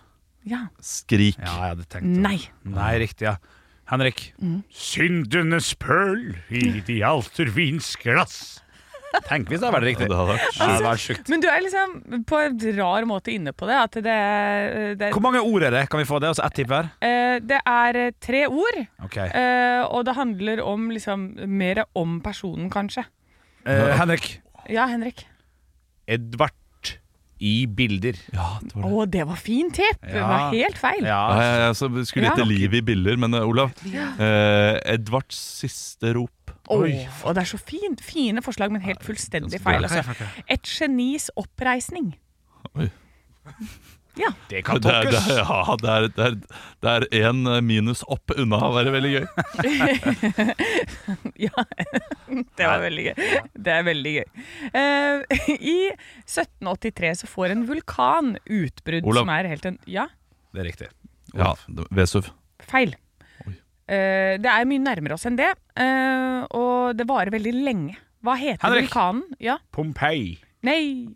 Speaker 4: Ja.
Speaker 3: Skrik.
Speaker 2: Ja, jeg hadde tenkt det.
Speaker 4: Nei.
Speaker 2: Nei, riktig, ja. Henrik. Syndenes pøl i de alter vins glass. Tenk hvis det hadde vært
Speaker 3: Ja,
Speaker 2: riktig.
Speaker 3: det
Speaker 2: Ja,
Speaker 3: hadde vært
Speaker 2: det hadde vært sjukt.
Speaker 4: Men du er liksom på en rar måte inne på det. At det, det,
Speaker 2: Hvor mange ord er det? Kan vi få det? Og så ett tipp hver?
Speaker 4: eh, det er tre ord,
Speaker 2: Ok.
Speaker 4: eh, og det handler om liksom mer om personen, kanskje.
Speaker 2: Eh, Henrik.
Speaker 4: Ja, Henrik.
Speaker 2: Edvard i bilder.
Speaker 3: Ja, det var
Speaker 4: Å,
Speaker 3: det.
Speaker 4: det var fin tipp! Det
Speaker 2: Ja.
Speaker 4: var helt
Speaker 3: Ja,
Speaker 4: feil.
Speaker 2: Ja.
Speaker 3: ja, ja, så vi skulle
Speaker 4: Ja.
Speaker 3: hete Liv i biller, men eh, Olav eh, Edvards siste rop.
Speaker 4: Åh, og det er så fint. Fine forslag, men helt fullstendig
Speaker 3: ganske
Speaker 4: feil.
Speaker 3: bra.
Speaker 4: Altså. Et genis oppreisning.
Speaker 3: Oi.
Speaker 4: Ja.
Speaker 2: Det kan
Speaker 3: Det er, det,
Speaker 2: tolkes.
Speaker 3: er, ja, det, er, det, er, det er en eh, minus opp unna å være veldig gøy.
Speaker 4: ja. Det var veldig gøy. Det er veldig gøy. Eh, I 1783 så får en vulkan utbrudd
Speaker 3: Olav.
Speaker 4: som er helt en Ja,
Speaker 2: Det er riktig.
Speaker 3: Ja, Vesuv.
Speaker 4: feil. Eh, det er mye nærmere oss enn det, eh, og det varer veldig lenge. Hva heter
Speaker 2: Henrik.
Speaker 4: vulkanen? Ja.
Speaker 2: Pompeii.
Speaker 4: Nei.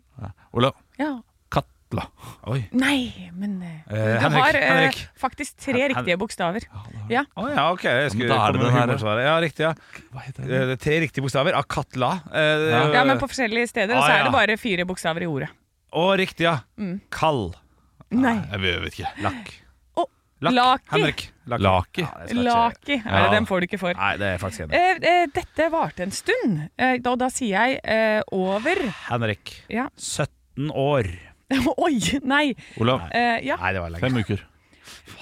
Speaker 3: Olav
Speaker 4: Ja.
Speaker 3: Katla.
Speaker 2: Oi.
Speaker 4: Nei, men eh, Du
Speaker 2: Henrik,
Speaker 4: har eh,
Speaker 2: Henrik.
Speaker 4: faktisk tre
Speaker 2: Hen-
Speaker 4: riktige bokstaver. Ja.
Speaker 2: Å ja, ok. Jeg skulle
Speaker 3: Ja, men da er det
Speaker 2: komme med
Speaker 3: den her,
Speaker 2: humorsvaret. Ja, riktig. ja
Speaker 3: Hva heter
Speaker 2: Eh, det er Tre riktige bokstaver. Akatla. Eh,
Speaker 3: Ja.
Speaker 4: Ja, men på forskjellige steder
Speaker 2: Ah,
Speaker 4: så er
Speaker 2: ja.
Speaker 3: Mm.
Speaker 4: det bare fire bokstaver i ordet.
Speaker 2: Og riktig, ja. Kall.
Speaker 4: Nei.
Speaker 3: Jeg vet- jeg vet ikke.
Speaker 2: Lakk. Lakk.
Speaker 4: Laki.
Speaker 2: Henrik. Lakk.
Speaker 3: Laki.
Speaker 2: Ja, det skal ikke- Ah.
Speaker 4: Laki. Nei,
Speaker 3: Ja.
Speaker 4: den får du ikke for.
Speaker 2: Nei, det er jeg faktisk enig. i.
Speaker 4: Eh, eh, dette varte en stund, eh, og da sier jeg eh, over
Speaker 2: Henrik.
Speaker 4: Ja.
Speaker 2: 17 år.
Speaker 4: Oi! Nei.
Speaker 3: Olav,
Speaker 4: Eh, ja.
Speaker 2: Nei, det var lenge.
Speaker 3: fem uker.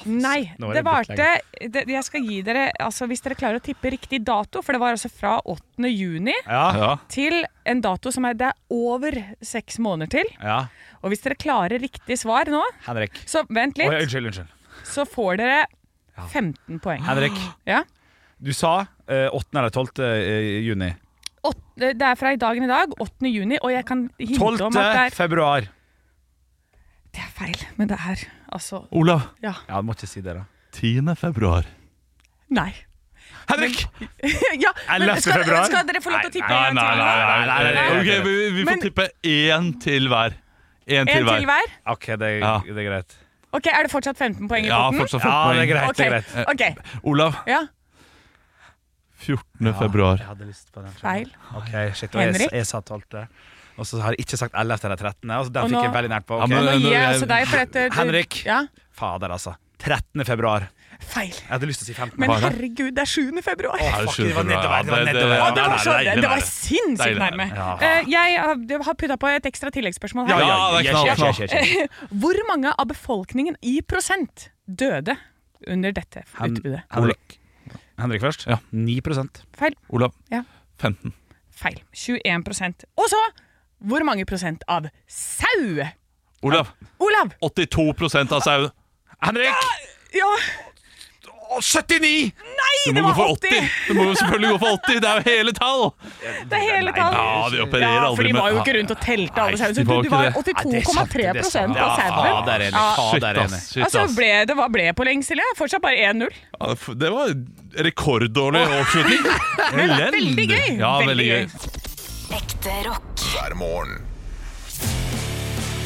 Speaker 4: Nei,
Speaker 2: Nå er
Speaker 4: det
Speaker 2: det blitt
Speaker 4: varte det, Jeg skal gi dere, altså hvis dere klarer å tippe riktig dato, for det var altså fra 8. juni
Speaker 2: Ja.
Speaker 3: Ja.
Speaker 4: til en dato som er det er over seks måneder til.
Speaker 2: ja.
Speaker 4: Og hvis dere klarer riktig svar nå,
Speaker 2: Henrik.
Speaker 4: så vent
Speaker 2: Oi,
Speaker 4: litt,
Speaker 2: unnskyld, unnskyld.
Speaker 4: så får dere 15 poeng.
Speaker 2: Henrik,
Speaker 4: Ja.
Speaker 2: du sa eh, 8. eller 12. eh, juni.
Speaker 4: Åt- Det er fra i dagen i dag, 8. juni, og jeg kan hinte
Speaker 2: 12.
Speaker 4: om at det er,
Speaker 2: februar.
Speaker 4: det er feil. Men det er altså
Speaker 3: Olav,
Speaker 4: Ja.
Speaker 2: Ja, du må ikke si det, da.
Speaker 3: 10. februar.
Speaker 4: Nei.
Speaker 2: Henrik!
Speaker 4: ja, men
Speaker 2: 11.
Speaker 4: skal,
Speaker 2: februar?
Speaker 4: skal dere få lov til å tippe
Speaker 3: Nei,
Speaker 4: en
Speaker 3: nei,
Speaker 4: til?
Speaker 3: nei. nei, nei,
Speaker 2: nei, nei.
Speaker 3: Ok, vi, vi får
Speaker 4: Men-
Speaker 3: tippe én til hver. Én
Speaker 4: En til hver?
Speaker 2: OK, det,
Speaker 3: Ja.
Speaker 2: det er greit.
Speaker 4: Ok, Er det fortsatt 15 poeng i
Speaker 3: Ja,
Speaker 4: potten?
Speaker 3: fortsatt 15
Speaker 2: Ja, det er
Speaker 3: poeng.
Speaker 2: greit. det er
Speaker 4: Ok,
Speaker 2: greit.
Speaker 4: ok,
Speaker 3: Olav,
Speaker 4: ja
Speaker 3: 14. februar.
Speaker 2: Jeg hadde lyst på den.
Speaker 4: Feil.
Speaker 2: Ok, shit, og jeg,
Speaker 4: Henrik?
Speaker 2: jeg sa 12. Og så har jeg ikke sagt 11. eller 13. Og så
Speaker 4: Og
Speaker 2: den
Speaker 4: nå-
Speaker 2: fikk jeg veldig nært på.
Speaker 3: Ja,
Speaker 2: Ok.
Speaker 4: Nå
Speaker 3: men-
Speaker 4: gir jeg
Speaker 3: jeg-
Speaker 4: altså deg for dette du-
Speaker 2: Henrik.
Speaker 4: Ja,
Speaker 2: Fader, altså. 13. februar.
Speaker 4: feil
Speaker 2: Jeg hadde lyst til å si 15.
Speaker 4: Men
Speaker 3: Bare.
Speaker 4: herregud, det er 7. februar
Speaker 2: Å,
Speaker 3: Er det
Speaker 2: fuck, det var
Speaker 3: sjukt bra?
Speaker 2: nedover. Det
Speaker 3: Ja,
Speaker 2: var
Speaker 3: det- det-
Speaker 2: nedover.
Speaker 4: Å, det
Speaker 3: nei,
Speaker 4: var, så,
Speaker 3: nei,
Speaker 4: det,
Speaker 3: nei,
Speaker 4: det var
Speaker 3: nei.
Speaker 4: sinnssykt
Speaker 3: Deilig,
Speaker 4: nærme
Speaker 3: deilig.
Speaker 2: Ja.
Speaker 4: Eh, Jeg har- jeg har puttet på et ekstra tilleggsspørsmål
Speaker 2: Ja,
Speaker 4: her
Speaker 2: ja,
Speaker 3: Ja, det er
Speaker 2: yes,
Speaker 3: knall,
Speaker 2: yes,
Speaker 3: knall.
Speaker 2: yes, yes, yes.
Speaker 4: Hvor mange av befolkningen i prosent døde under dette
Speaker 2: Hen-
Speaker 4: utbudet?
Speaker 2: Henrik. Henrik først.
Speaker 3: Ja.
Speaker 2: 9
Speaker 4: Feil,
Speaker 3: Olav,
Speaker 4: Ja.
Speaker 3: 15.
Speaker 4: feil 21 prosent Og så, hvor mange prosent av sau?
Speaker 3: Olav,
Speaker 4: Olav
Speaker 3: 82 av sauen.
Speaker 2: Henrik!
Speaker 4: Ja,
Speaker 2: Å, 79!
Speaker 3: Du må
Speaker 4: det
Speaker 3: gå
Speaker 4: var
Speaker 3: for
Speaker 4: 80.
Speaker 3: 80! Du må jo selvfølgelig gå for 80, det er jo hele tall!
Speaker 4: det er hele tall
Speaker 3: Ja, de opererer
Speaker 4: Ja, for
Speaker 3: aldri
Speaker 4: de
Speaker 3: med-
Speaker 4: var jo ikke rundt og telte alle
Speaker 3: Nei,
Speaker 4: sauene.
Speaker 3: de
Speaker 4: Så
Speaker 3: var
Speaker 4: du,
Speaker 3: ikke
Speaker 4: du var
Speaker 3: det.
Speaker 2: det er sant, det
Speaker 4: 82,3
Speaker 2: er sant.
Speaker 4: av
Speaker 2: Ja,
Speaker 4: sauen.
Speaker 2: fader, enig.
Speaker 4: Ja.
Speaker 2: Fader,
Speaker 3: Shit,
Speaker 2: enig.
Speaker 3: ass. Shit,
Speaker 4: Altså,
Speaker 3: ass.
Speaker 4: ble, det var ble på lenge, Silje. Fortsatt bare 1-0.
Speaker 3: Ja, f- Det var rekorddårlig avslutning.
Speaker 4: veldig
Speaker 3: Elendig.
Speaker 4: gøy.
Speaker 3: Ja,
Speaker 4: Veldig
Speaker 3: veldig gøy.
Speaker 5: Ekte rock.
Speaker 1: hver morgen.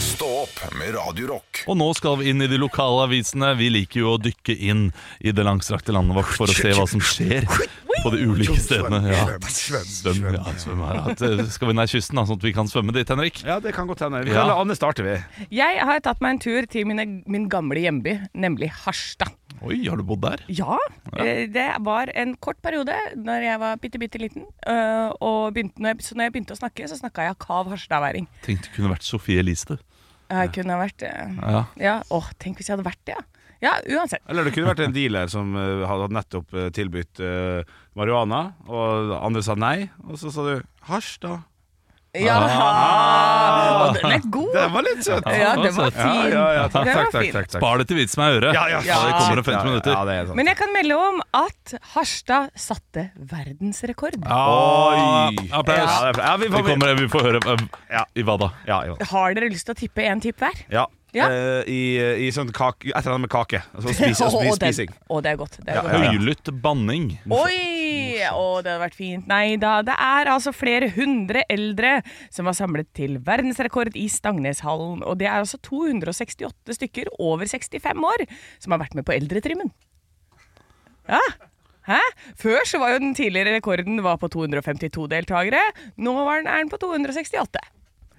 Speaker 1: Stå opp med Radio Rock.
Speaker 3: Og nå skal vi inn i de lokale avisene. Vi liker jo å dykke inn i det langstrakte landet vårt for å se hva som skjer på de ulike stedene. Ja. Svøm, ja, svøm her. At, eh, Skal vi ned kysten, da, sånn at vi kan svømme dit, Henrik?
Speaker 2: Ja, det kan godt hende. Vi
Speaker 3: Ja.
Speaker 2: kan la Anne starte, vi.
Speaker 4: Jeg har tatt meg en tur til mine, min gamle hjemby, nemlig Harstad.
Speaker 3: Oi, har du bodd der?
Speaker 4: Ja, eh, det var en kort periode når jeg var bitte, bitte liten. eh, Og begynte, når, jeg, så når jeg begynte å snakke, så snakka jeg kav harstadværing.
Speaker 3: Tenkte det kunne vært Sofie Elise, du.
Speaker 4: Jeg kunne ha vært eh,
Speaker 3: Ja.
Speaker 4: Ja, åh, tenk hvis jeg hadde vært det, ja. Ja, uansett.
Speaker 2: Eller det kunne vært en dealer som eh, hadde nettopp eh, tilbudt eh, marihuana, og andre sa nei, og så sa du hasj, da.
Speaker 4: Ja!
Speaker 2: Ah.
Speaker 4: Og den er god!
Speaker 2: Det var litt søtt.
Speaker 4: Ja, den var
Speaker 3: søt.
Speaker 2: Ja,
Speaker 4: fin.
Speaker 2: ja, ja, takk,
Speaker 4: Den
Speaker 2: takk,
Speaker 4: var
Speaker 2: takk,
Speaker 4: fin.
Speaker 2: takk, takk.
Speaker 3: Spar det til vitsen er øre.
Speaker 2: Ja, ja,
Speaker 4: Ja.
Speaker 3: Det kommer om 15 minutter.
Speaker 2: Ja, det er sant.
Speaker 4: Men jeg kan melde om at Harstad satte verdensrekord.
Speaker 2: Oi!
Speaker 3: Applaus.
Speaker 2: Ja, det er- ja, vi
Speaker 3: Vi,
Speaker 2: får
Speaker 3: kommer, vi får høre eh,
Speaker 2: Ja.
Speaker 3: i hva da?
Speaker 2: ja, jo.
Speaker 4: Har dere lyst til å tippe én tipp hver?
Speaker 2: ja.
Speaker 4: Ja.
Speaker 2: Eh, I, i sånn kake, et eller annet med kake. Altså spis, og spis,
Speaker 4: Å, den-
Speaker 2: spising.
Speaker 4: Å, det er godt. Det er
Speaker 2: Ja,
Speaker 4: godt.
Speaker 2: ja, ja.
Speaker 3: Høylytt banning.
Speaker 4: Oi! Å, det hadde vært fint. Nei da. Det er altså flere hundre eldre som var samlet til verdensrekord i Stangneshallen. Og det er altså 268 stykker over 65 år som har vært med på eldretrimmen. Ja. Hæ? Før så var jo den tidligere rekorden var på 252 deltakere. Nå var den, er den på 268.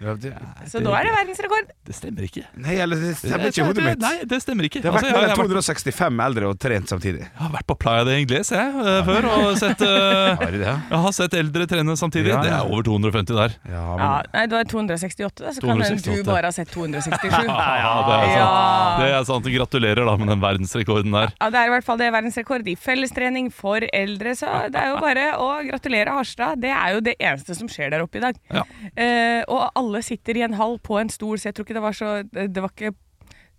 Speaker 4: Så nå er det verdensrekord.
Speaker 3: Det stemmer ikke.
Speaker 2: Nei, eller det stemmer ikke i hodet mitt.
Speaker 3: Nei, det stemmer ikke.
Speaker 2: Det har vært
Speaker 3: Altså, jeg,
Speaker 2: mellom
Speaker 3: jeg, har vært,
Speaker 2: 265 eldre og trent samtidig.
Speaker 3: jeg har vært på Playa de Ingles jeg, eh, før og sett eh,
Speaker 2: Har du det?
Speaker 3: Jeg har sett eldre trene samtidig.
Speaker 2: Ja, ja.
Speaker 3: Det er over 250 der.
Speaker 2: Ja, men,
Speaker 4: Ja, nei, det var 268, da, så kan
Speaker 3: 268.
Speaker 4: hende du bare har sett 267.
Speaker 3: Ja, det er sant.
Speaker 4: Ja.
Speaker 3: Det er sant. Gratulerer da med den verdensrekorden der.
Speaker 4: Ja, Det er i hvert fall det er verdensrekord i fellestrening for eldre, så det er jo bare å gratulere Harstad. Det er jo det eneste som skjer der oppe i dag.
Speaker 3: Ja.
Speaker 4: Eh, og alle sitter i en hall på en stol, så jeg tror ikke det var så Det var ikke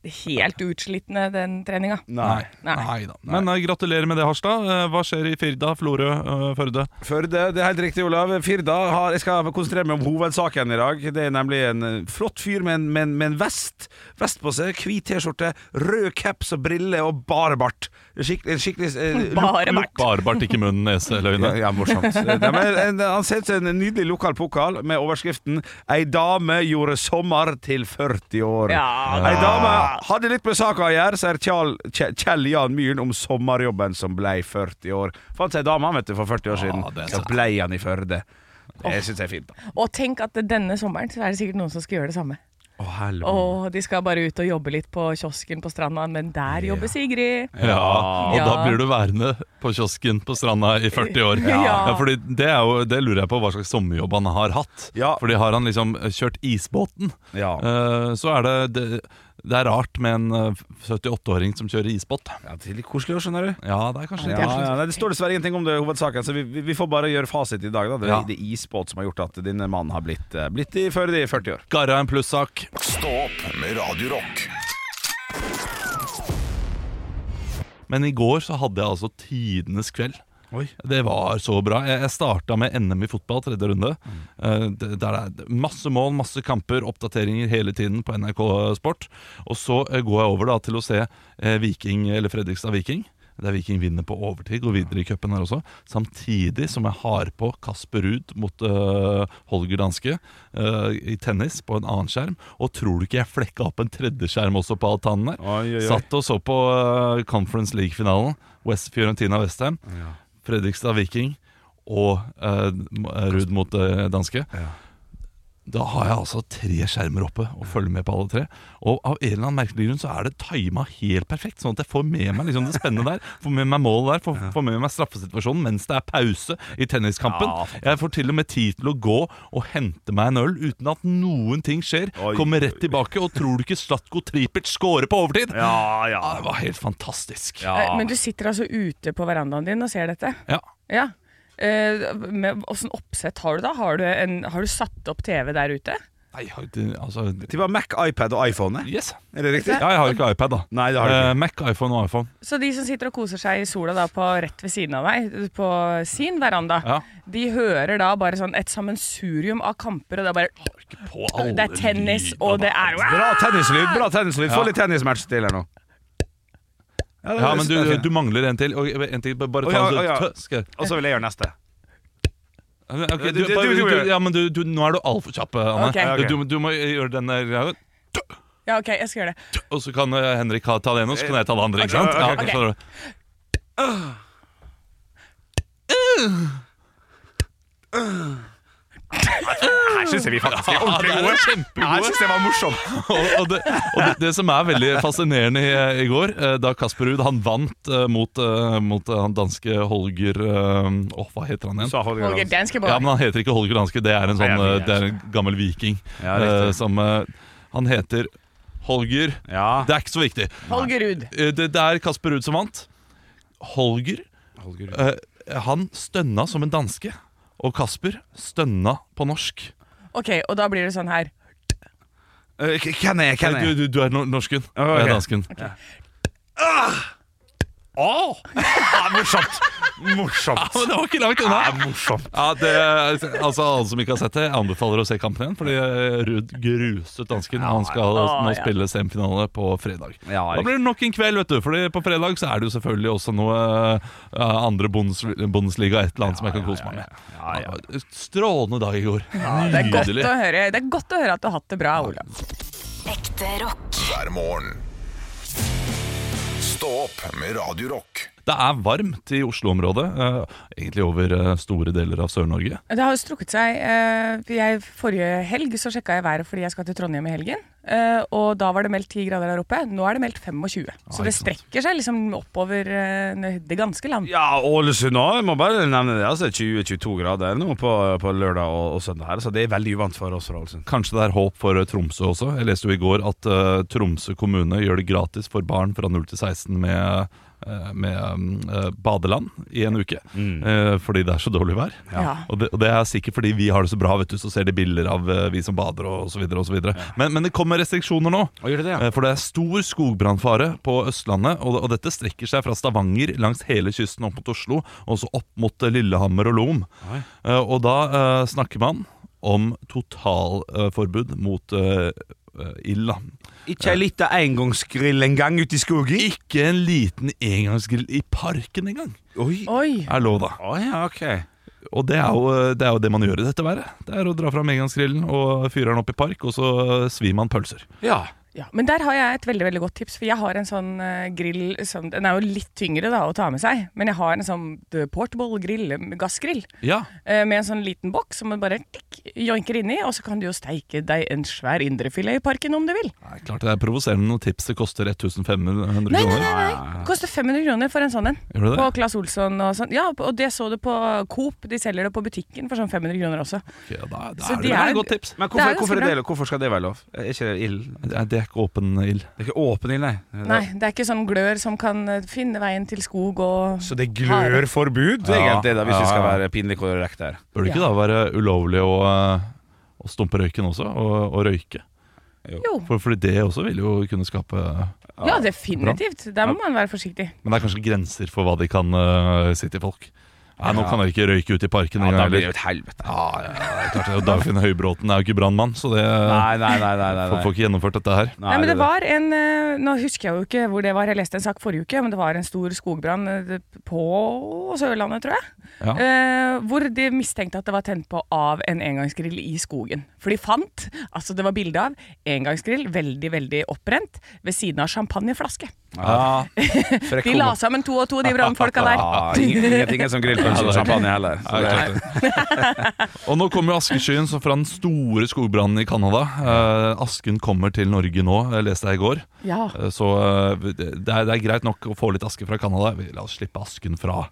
Speaker 4: helt utslittende, den treninga.
Speaker 2: nei.
Speaker 4: Nei.
Speaker 3: da. Men eh, gratulerer med det, Harstad. Eh, Hva skjer i Firda, Florø, eh, Førde?
Speaker 2: Førde, det er helt riktig, Olav. Firda har, Jeg skal konsentrere meg om hovedsaken i dag. Det er nemlig en eh, flott fyr med en, med en, med en vest. Vest på seg, hvit T-skjorte, rød caps og briller og bare bart. Skikk- en skikkelig eh, lo-
Speaker 4: Bare
Speaker 2: lo-
Speaker 4: bart.
Speaker 3: Barebart, ikke munn, nese, løgne.
Speaker 2: Ja, ja, morsomt. Eh, nei, men en, han ser ut som en nydelig lokal pokal med overskriften 'Ei dame gjorde sommer til 40 år'.
Speaker 4: Ja,
Speaker 2: Ei dame hadde litt med saka å gjøre, sier Kjell, Kjell- Kjell Jan Myhren om sommerjobben som blei 40 år. Fant seg ei dame han, vet du, for 40 år siden.
Speaker 3: Ja, det er
Speaker 2: så
Speaker 3: sant.
Speaker 2: blei han i Førde. Det syns jeg er fint. da
Speaker 4: Og tenk at denne sommeren så er det sikkert noen som skal gjøre det samme.
Speaker 2: Åh, helvete.
Speaker 4: Og de skal bare ut og jobbe litt på kiosken på stranda, men der jobber Sigrid.
Speaker 3: Ja, og da
Speaker 4: Ja.
Speaker 3: blir du værende på kiosken på stranda i 40 år.
Speaker 4: Ja.
Speaker 3: fordi det, er jo, det lurer jeg på hva slags sommerjobb han har hatt.
Speaker 2: Ja.
Speaker 3: Fordi har han liksom kjørt isbåten,
Speaker 2: Ja.
Speaker 3: eh, så er det, det Det er rart med en eh, 78-åring som kjører isbåt.
Speaker 2: Ja, det er litt koselig også, skjønner du.
Speaker 3: Ja, det er kanskje
Speaker 2: Ja,
Speaker 3: litt
Speaker 2: ja, nei, det står dessverre ingenting om det i hovedsaken, så vi, vi- vi får bare gjøre fasit i dag. Da. Det, er
Speaker 3: Ja.
Speaker 2: det er isbåt som har gjort at din mann har blitt, eh, blitt i føre i 40 år.
Speaker 3: Garra en plussak.
Speaker 1: Stå opp med Radio Rock.
Speaker 3: Men i går så hadde jeg altså tidenes kveld.
Speaker 2: Oi.
Speaker 3: Det var så bra. Jeg, jeg starta med NM i fotball, tredje runde.
Speaker 2: Mm.
Speaker 3: Eh, d- der det er masse mål, masse kamper, oppdateringer hele tiden på NRK Sport. Og så eh, går jeg over da til å se eh, Viking, eller Fredrikstad Viking. Der Viking vinner på overtid, går videre i cupen her også. Samtidig som jeg har på Kasper Ruud mot eh, Holger Danske eh, i tennis på en annen skjerm. Og tror du ikke jeg flekka opp en tredje skjerm også på altanen der?
Speaker 2: Oi, oi, oi.
Speaker 3: Satt og så på eh, Conference League-finalen. West Fiorentina Westham. Fredrikstad Viking og eh, m- eh, Ruud mot eh, danske. Da har jeg altså tre skjermer oppe og følger med på alle tre. Og av en eller annen merkelig grunn så er det tima helt perfekt, sånn at jeg får med meg liksom det spennende der. Får med meg målet der, får, får med meg straffesituasjonen mens det er pause i tenniskampen.
Speaker 2: Ja, fantastisk.
Speaker 3: jeg får til og med tid til å gå og hente meg en øl uten at noen ting skjer.
Speaker 2: Oi,
Speaker 3: Kommer
Speaker 2: oi,
Speaker 3: rett tilbake, og tror du ikke Slatko Tripic scorer på overtid?
Speaker 2: Ja, ja.
Speaker 3: Det var helt fantastisk.
Speaker 4: Eh, Men du sitter altså ute på verandaen din og ser dette?
Speaker 3: Ja.
Speaker 4: Ja. Eh, med, hvordan oppsett har du da? Har du, en, har du satt opp TV der ute?
Speaker 3: Nei, har ikke- altså
Speaker 2: Det var Mac, iPad og iPhone, eh?
Speaker 3: Yes.
Speaker 2: er det riktig?
Speaker 3: Ja, jeg har ikke iPad, da.
Speaker 2: Nei, det har du ikke.
Speaker 3: Eh, Mac, iPhone og iPhone.
Speaker 4: Så de som sitter og koser seg i sola da på rett ved siden av meg, på sin veranda,
Speaker 3: Ja.
Speaker 4: de hører da bare sånn et sammensurium av kamper, og det er bare
Speaker 3: På
Speaker 4: Det er tennis, og det er
Speaker 2: Bra tennislyd, bra tennislyd. Få
Speaker 3: Ja.
Speaker 2: litt tennismatch til her nå. det-
Speaker 3: Ja, men
Speaker 2: det er
Speaker 3: du,
Speaker 2: fint.
Speaker 3: du mangler en til. Og, eh, en til bare ta
Speaker 2: Å, ja,
Speaker 3: en
Speaker 2: å, ja.
Speaker 3: tø- skal-
Speaker 2: Og så vil jeg gjøre neste.
Speaker 3: Ok,
Speaker 2: Du-
Speaker 3: du,
Speaker 2: du-
Speaker 3: bare-
Speaker 2: du-
Speaker 3: du,
Speaker 2: du-
Speaker 3: ja, men du, du, nå er du altfor kjapp, eh, Anne.
Speaker 4: Ok. Ja,
Speaker 2: ok.
Speaker 3: Du, du må gjøre den der ja,
Speaker 4: Ja, OK, jeg skal gjøre det.
Speaker 3: Og så kan eh, Henrik ha- ta det ene, og så kan jeg ta det andre. Ikke sant?
Speaker 2: ok,
Speaker 3: Ja,
Speaker 4: ok.
Speaker 3: skjønner du.
Speaker 2: Her syns jeg vi faktisk er ordentlig
Speaker 3: Ja, det er
Speaker 2: gode.
Speaker 3: kjempegode.
Speaker 2: Her syns jeg var morsomt.
Speaker 3: og, og, det, og det, det som er veldig fascinerende i, i går, eh, da Kasper Ruud han vant eh, mot, eh, mot eh, han danske Holger eh, Åh, hva heter han igjen?
Speaker 2: Sa Holger
Speaker 4: Holger
Speaker 2: Danske.
Speaker 4: Danske Boy.
Speaker 3: Ja, men han heter ikke Holger Danske. Det er en sånn
Speaker 2: Nei, jeg vet
Speaker 3: eh, Det er en gammel viking.
Speaker 2: Ja, riktig.
Speaker 3: eh, som eh, Han heter Holger
Speaker 2: Ja.
Speaker 3: Det er ikke så viktig.
Speaker 4: Holger Ruud.
Speaker 3: Eh, Det, det er Kasper Ruud som vant. Holger eh, Han stønna som en danske. Og Kasper stønna på norsk.
Speaker 4: OK, og da blir det sånn her.
Speaker 2: Eh, k- Hvem er jeg? Hvem er
Speaker 3: Du,
Speaker 2: jeg?
Speaker 3: du, du er no- norsken.
Speaker 2: Ok.
Speaker 3: Jeg er dansken.
Speaker 2: Åh! Ja, morsomt. Morsomt.
Speaker 3: Men det var ikke langt unna!
Speaker 2: Ja, morsomt.
Speaker 3: Ja, det, altså Alle som ikke har sett det, jeg anbefaler å se kampen igjen. Fordi eh, Ruud gruset dansken. Han skal
Speaker 4: Å,
Speaker 3: nå
Speaker 4: ja.
Speaker 3: spille semifinale på fredag.
Speaker 2: Ja,
Speaker 3: da blir det nok en kveld, vet du. Fordi på fredag så er det jo selvfølgelig også noe eh, andre bondes, Bundesliga, et eller annet som jeg kan kose meg med. Ja, Strålende dag i går.
Speaker 4: Det er godt eh.
Speaker 3: Nydelig.
Speaker 4: å høre, det er godt å høre at du har hatt det bra, Olav.
Speaker 5: Ekte rock.
Speaker 1: Hver morgen. Stå opp med Radio Rock.
Speaker 3: Det er varmt i Oslo-området. eh, Egentlig over eh, store deler av Sør-Norge.
Speaker 4: Det har jo strukket seg. eh, Jeg, forrige helg så sjekka jeg været fordi jeg skal til Trondheim i helgen. eh, Og da var det meldt 10 grader der oppe. Nå er det meldt 25. Så
Speaker 3: Ah, ikke
Speaker 4: det
Speaker 3: sant.
Speaker 4: strekker seg liksom oppover eh, det ganske land.
Speaker 2: Ja, Ålesund òg. Jeg må bare nevne det. Altså 20-22 grader nå på, på lørdag og, og søndag her, så det er veldig uvant for oss fra Ålesund.
Speaker 3: Kanskje det er håp for eh, Tromsø også. Jeg leste jo i går at eh, Tromsø kommune gjør det gratis for barn fra 0 til 16 med, eh, med eh, badeland i en uke. Eh, fordi det er så dårlig vær.
Speaker 4: Ja.
Speaker 3: Og, det, og det er sikkert fordi vi har det så bra, vet du, så ser de bilder av eh, vi som bader og så videre og så videre. Men, men det kommer restriksjoner nå.
Speaker 2: Og gjør det det, ja?
Speaker 3: Eh, For det er stor skogbrannfare på Østlandet, og, og dette strekker seg fra Stavanger langs hele kysten opp mot Oslo, og så opp mot eh, Lillehammer og Lom. Eh, Og da eh, snakker man om totalforbud mot eh, eh, ild. da.
Speaker 2: Ikke ei lita engangsgrill engang ute i skogen?
Speaker 3: Ikke en liten engangsgrill i parken engang
Speaker 2: Oi.
Speaker 4: Oi!
Speaker 3: er lov, da.
Speaker 2: Å ja, ok.
Speaker 3: Og det er, jo, det er jo det man gjør i dette været. Det er å dra fram engangsgrillen og fyre den opp i park, og så eh, svir eh, man pølser.
Speaker 2: Ja.
Speaker 4: Ja, men der har jeg et veldig veldig godt tips. For jeg har en sånn eh, grill som, Den er jo litt tyngre da å ta med seg, men jeg har en sånn eh, portable grill, eh, gassgrill.
Speaker 3: Ja.
Speaker 4: eh, Med en sånn liten boks som man bare tikk, joinker inni, og så kan du jo steike deg en svær indrefilet i parken om du vil.
Speaker 3: Nei, klart det er provoserende når tipset koster 1500
Speaker 4: Nei, nei,
Speaker 3: kroner.
Speaker 4: nei, nei. Koster 500 kroner for en sånn en.
Speaker 3: Gjør det det?
Speaker 4: På Claes Olsson og sånn. Ja, og det så du på Coop. De selger det på butikken for sånn 500 kroner også.
Speaker 3: Ok, da, da
Speaker 4: Så
Speaker 3: er
Speaker 4: de
Speaker 3: det vel
Speaker 4: er-
Speaker 3: et godt tips.
Speaker 2: Men
Speaker 4: Det er
Speaker 2: hvorfor,
Speaker 4: ganske
Speaker 2: hvorfor, er
Speaker 4: bra.
Speaker 2: det, lov? hvorfor skal det være lov? Er ikke det ild?
Speaker 3: Det er, det er ikke åpen ild.
Speaker 2: Det er ikke åpen ild, nei. Det er-
Speaker 4: Nei, det er ikke sånn glør som kan eh, finne veien til skog og
Speaker 2: Så det er glørforbud,
Speaker 3: Ja.
Speaker 2: egentlig, da, hvis vi skal
Speaker 3: Ja.
Speaker 2: være pinlig korrekte her.
Speaker 3: Bør det ikke da være ulovlig å, eh, å stumpe røyken også? Og, og røyke?
Speaker 4: Jo.
Speaker 3: For, fordi det også vil jo kunne skape Men
Speaker 4: Ja, definitivt. Der må man være forsiktig.
Speaker 3: det er kanskje grenser for hva de kan eh, si til folk. Nei, nå kan dere ikke røyke ute i parken.
Speaker 2: Ja,
Speaker 3: engang,
Speaker 2: da blir det jo
Speaker 3: eller-
Speaker 2: et helvete.
Speaker 3: ja, ja, ja, det er klart det. Og Dagfinn Høybråten er jo ikke brannmann, så det
Speaker 2: Nei, nei, nei. nei, nei,
Speaker 3: får, får ikke gjennomført dette her.
Speaker 4: Nei, men
Speaker 2: det-
Speaker 4: det var en eh, Nå husker jeg jo ikke hvor det var, jeg leste en sak forrige uke, men det var en stor skogbrann eh, på Sørlandet, tror jeg.
Speaker 3: Ja.
Speaker 4: Eh, hvor de mistenkte at det var tent på av en engangsgrill i skogen. For de fant, altså det var bilde av, engangsgrill veldig, veldig opprent ved siden av champagneflaske.
Speaker 2: Ja. Frekk
Speaker 4: De la
Speaker 2: homo.
Speaker 4: sammen to og to, de brannfolka der.
Speaker 2: Ja, ingen- Ingenting er som grillpølse og sånn champagne heller. Så det-
Speaker 3: Ja, det er klart det. og nå kommer jo askeskyen som fra den store skogbrannen i Canada. Eh, asken kommer til Norge nå, jeg leste jeg i går.
Speaker 4: Ja.
Speaker 3: Eh, så eh, det, er, det er greit nok å få litt aske fra Canada. Vi- La oss slippe asken fra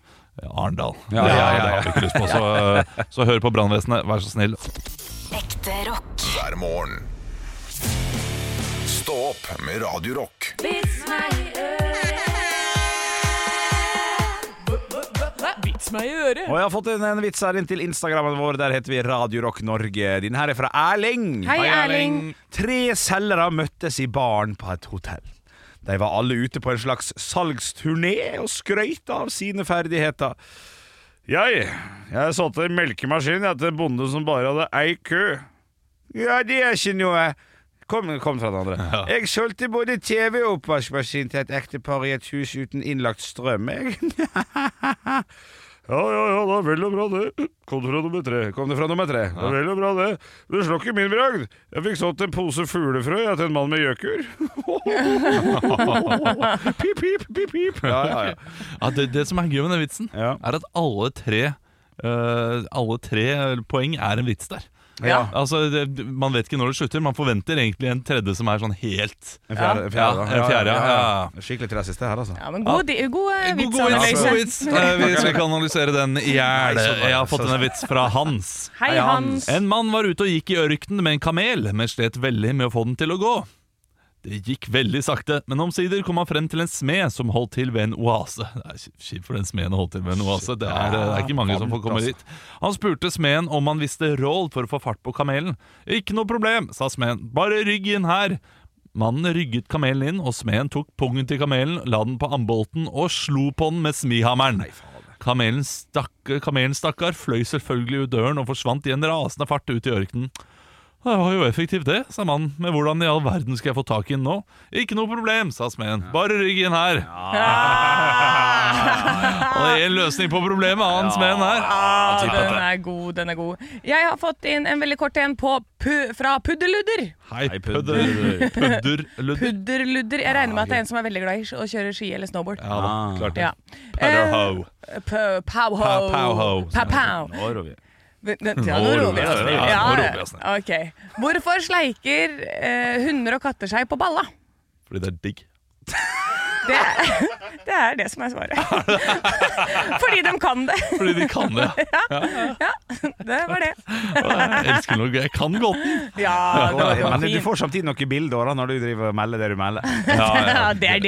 Speaker 3: eh, Arendal.
Speaker 2: Ja, ja, ja,
Speaker 3: Det har vi ikke lyst på. Så, eh, så hør på brannvesenet, vær så snill.
Speaker 5: Ekte rock.
Speaker 1: hver morgen. Stå opp med Radio Rock.
Speaker 4: Vits meg i øret.
Speaker 2: Og jeg har fått en, en vits her inn til Instagrammen vår. Der heter vi Radio Rock Norge. Din her er fra Erling.
Speaker 4: Hei, Erling.
Speaker 2: Tre selgere møttes i baren på et hotell. De var alle ute på en slags salgsturné og skrøyt av sine ferdigheter. Jeg, jeg satte en melkemaskin etter en bonde som bare hadde ei ku. Ja, det er ikke noe. Kom, kom fra den andre. Jeg solgte både TV og oppvaskmaskin til et ektepar i et hus uten innlagt strøm. Jeg. Ja, ja, ja, det er vel og bra det. Kom det fra nummer tre? Kom det fra nummer tre? Det er vel og bra det. Du slår ikke min bragd. Jeg fikk sådd en pose fuglefrø jeg, til en mann med gjøkur. pip, pip, pip, pip. Ja, ja, ja.
Speaker 3: Ja, det, det som er gøy med den vitsen,
Speaker 2: Ja.
Speaker 3: er at alle tre eh, alle tre poeng er en vits der.
Speaker 2: ja.
Speaker 3: Altså, det, Man vet ikke når det slutter. Man forventer egentlig en tredje som er sånn helt
Speaker 2: En fjerde, en fjerde,
Speaker 3: Ja, en fjerde, ja, ja.
Speaker 2: Skikkelig til det siste her, altså.
Speaker 4: Ja, men god, di- god eh,
Speaker 3: God,
Speaker 4: vits,
Speaker 3: god
Speaker 4: Anne
Speaker 3: vits,
Speaker 4: Lise.
Speaker 3: god vits. Eh, Vi skal ikke analysere den i hjel.
Speaker 2: Nei, så bra.
Speaker 3: Jeg har fått en vits fra Hans.
Speaker 4: Hei, Hans.
Speaker 3: En mann var ute og gikk i ørkenen med en kamel, men slet veldig med å få den til å gå. Det gikk veldig sakte, men omsider kom han frem til en smed som holdt til ved en oase. Det er kjipt for den smeden å holde til ved en oase, det er, det er ikke mange som får komme dit. Han spurte smeden om han visste råd for å få fart på kamelen. Ikke noe problem, sa smeden, bare rygg inn her. Mannen rygget kamelen inn, og smeden tok pungen til kamelen, la den på ambolten og slo på den med smihammeren. Kamelen, stakk, kamelen stakkar fløy selvfølgelig ut døren og forsvant i en rasende fart ut i ørkenen. Det var jo effektivt det, sa mannen, men hvordan i all verden skal jeg få tak i den nå? Ikke noe problem, sa smeden, bare rygg inn her. Og det er en løsning på problemet, han smeden her.
Speaker 4: Ja, den er god, den er god. Jeg har fått inn en veldig kort en på pu fra Puddeludder.
Speaker 3: Hei,
Speaker 2: Hei,
Speaker 3: pudder,
Speaker 2: pudder.
Speaker 3: pudder, ludder.
Speaker 4: Pudderludder. Jeg regner med at det er en som er veldig glad i å kjøre ski eller snowboard.
Speaker 3: Ja, da,
Speaker 2: Ah.
Speaker 3: klart det.
Speaker 4: Ja.
Speaker 3: Pudderho.
Speaker 4: Eh, pu- Pow-ho.
Speaker 3: Pa- pow-ho.
Speaker 4: Pa-pow.
Speaker 2: Nå er vi.
Speaker 4: Ja, Nå
Speaker 3: Nå
Speaker 4: roer vi oss ned.
Speaker 3: Ja, nå roer vi
Speaker 4: Ja,
Speaker 3: oss ned.
Speaker 4: ja. Ok. Hvorfor sleiker eh, hunder og katter seg på balla?
Speaker 3: Fordi det er digg.
Speaker 4: Det er, det er det som er svaret. Fordi de kan det.
Speaker 3: Fordi de kan det.
Speaker 4: Ja, det var det.
Speaker 3: Jeg elsker Norge. Jeg kan godt den.
Speaker 4: Ja, det var, det var
Speaker 2: Men du
Speaker 4: fint.
Speaker 2: får samtidig noen bilder da, når du driver og melder det du melder.
Speaker 4: Ja, det er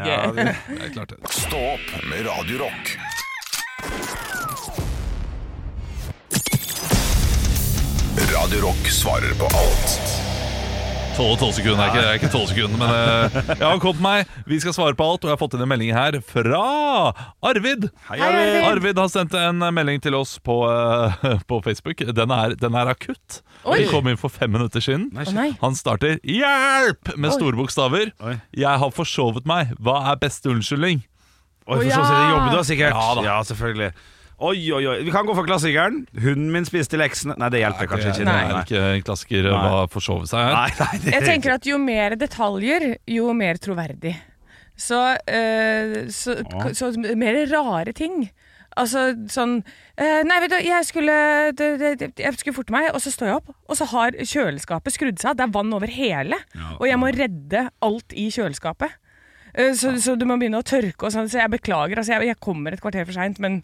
Speaker 2: Ja, det-
Speaker 3: Det er klart det.
Speaker 1: Stå opp med Radio Rock. Radio Rock svarer på alt.
Speaker 3: 12 12 sekunder er ikke, det er ikke 12 sekunder, men eh, jeg har kommet meg. Vi skal svare på alt, og jeg har fått inn en melding her fra Arvid. Hei,
Speaker 4: Arvid.
Speaker 3: Arvid har sendt en melding til oss på, eh, på Facebook. Den er, den er akutt.
Speaker 4: Oi.
Speaker 3: Den kom inn for fem minutter siden.
Speaker 4: Å nei.
Speaker 3: Han starter 'Hjelp!' med store bokstaver.
Speaker 2: Oi.
Speaker 3: 'Jeg har forsovet meg. Hva er beste unnskyldning?'
Speaker 2: Oi,
Speaker 4: Å,
Speaker 2: for
Speaker 4: ja.
Speaker 2: sånn sett jobber du da, sikkert.
Speaker 3: Ja
Speaker 2: Ja,
Speaker 3: da.
Speaker 2: selvfølgelig. Å, Oi, oi, oi. Vi kan gå for klassikeren. Hunden min spiste leksene. Nei, det hjelper kanskje ikke.
Speaker 4: Nei.
Speaker 3: Er ikke en klassiker eh,
Speaker 2: Nei.
Speaker 3: hva forsove seg her?
Speaker 2: Nei, nei, det,
Speaker 4: Jeg tenker at jo mer detaljer, jo mer troverdig. Så, eh, så,
Speaker 2: Ja.
Speaker 4: så mer rare ting. Altså sånn eh, Nei, vet du, jeg skulle, det, det, det, jeg skulle forte meg, og så står jeg opp, og så har kjøleskapet skrudd seg av. Det er vann over hele, og jeg må redde alt i kjøleskapet. Eh, Så, så du må begynne å tørke og sånn. Så jeg beklager, altså. Jeg, jeg kommer et kvarter for seint, men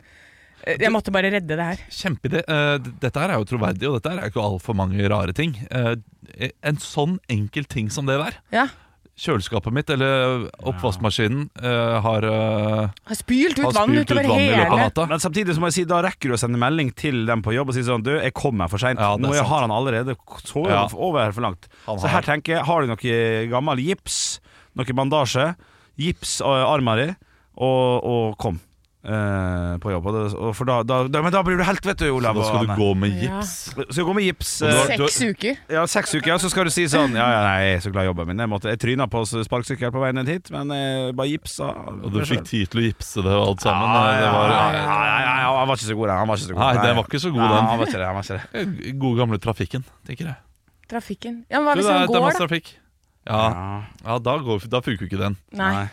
Speaker 4: eh, jeg måtte bare redde det her.
Speaker 3: Kjempeidé. Eh, d- Dette her er jo troverdig, og dette her er ikke altfor mange rare ting. Eh, En sånn enkel ting som det der.
Speaker 4: Ja.
Speaker 3: Kjøleskapet mitt, eller oppvaskmaskinen, eh, har, eh,
Speaker 4: Har spylt ut
Speaker 3: har
Speaker 4: vann
Speaker 3: spylt ut
Speaker 4: utover
Speaker 3: vann i løpet av
Speaker 4: hele.
Speaker 3: natta.
Speaker 2: Men samtidig så må jeg si da rekker du å sende melding til dem på jobb og si sånn Du, jeg kom her for seint.
Speaker 3: Ja, det er
Speaker 2: Nå jeg
Speaker 3: sant.
Speaker 2: har han allerede så
Speaker 3: Ja.
Speaker 2: over her for langt.
Speaker 3: Han
Speaker 2: Så her
Speaker 3: har-
Speaker 2: tenker jeg, har du noe gammel gips, noe bandasje, gips og armer i, og, og kom eh, på jobb. Og det, og for da, da, da, men da blir du helt, vet du,
Speaker 3: Så
Speaker 2: Olav.
Speaker 3: da skal
Speaker 2: og
Speaker 3: du
Speaker 2: Anne.
Speaker 3: gå med
Speaker 4: Ja.
Speaker 3: gips.
Speaker 2: Så gå med gips.
Speaker 3: Og du har-
Speaker 2: eh,
Speaker 4: Seks uker.
Speaker 2: ja, seks uker, ja, så skal du si sånn Ja, ja, nei, jeg er så glad i jobben min. Jeg, måtte, jeg tryna på sparkesykkel på veien ned hit, men jeg bare gipsa.
Speaker 3: Og du fikk tid til å gipse det og alt sammen. eh,
Speaker 2: Ja,
Speaker 3: Det var,
Speaker 2: ja, ja, ja, ja, ja, han var ikke så god, den. Han var ikke så god.
Speaker 3: Nei, den var ikke så god,
Speaker 2: Nei,
Speaker 3: den.
Speaker 2: han var ikke det, han var ikke det.
Speaker 3: eh, God gamle trafikken, tenker jeg.
Speaker 4: Trafikken. Ja, men hva
Speaker 3: Du, eh,
Speaker 4: hvis
Speaker 3: det, er,
Speaker 4: han
Speaker 3: det er
Speaker 4: går,
Speaker 3: masse
Speaker 4: da?
Speaker 3: trafikk. Ja, ja da, går, da funker jo ikke den.
Speaker 4: Nei.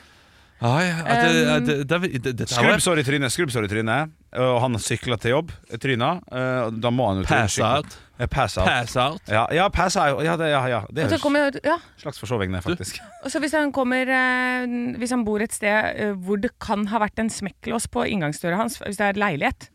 Speaker 3: Ai, ja, det,
Speaker 4: Um,
Speaker 3: ja, det, det, er- det, dette her var
Speaker 2: Skrubbsår i trynet, skrubbsår i trynet. Og han sykla til jobb. Tryna. eh, Da må han jo til-
Speaker 3: Pass
Speaker 2: sykle.
Speaker 3: out.
Speaker 2: Ja, Pass out.
Speaker 3: Pass out.
Speaker 2: Ja, ja, pass out. Ja, det, ja, ja. det
Speaker 4: Og
Speaker 2: er
Speaker 4: så
Speaker 2: jo
Speaker 4: kommer, ja,
Speaker 2: en slags forsoving, det, faktisk.
Speaker 4: og så hvis han kommer eh, Hvis han bor et sted eh, hvor det kan ha vært en smekklås på inngangsdøra hans, hvis det er leilighet,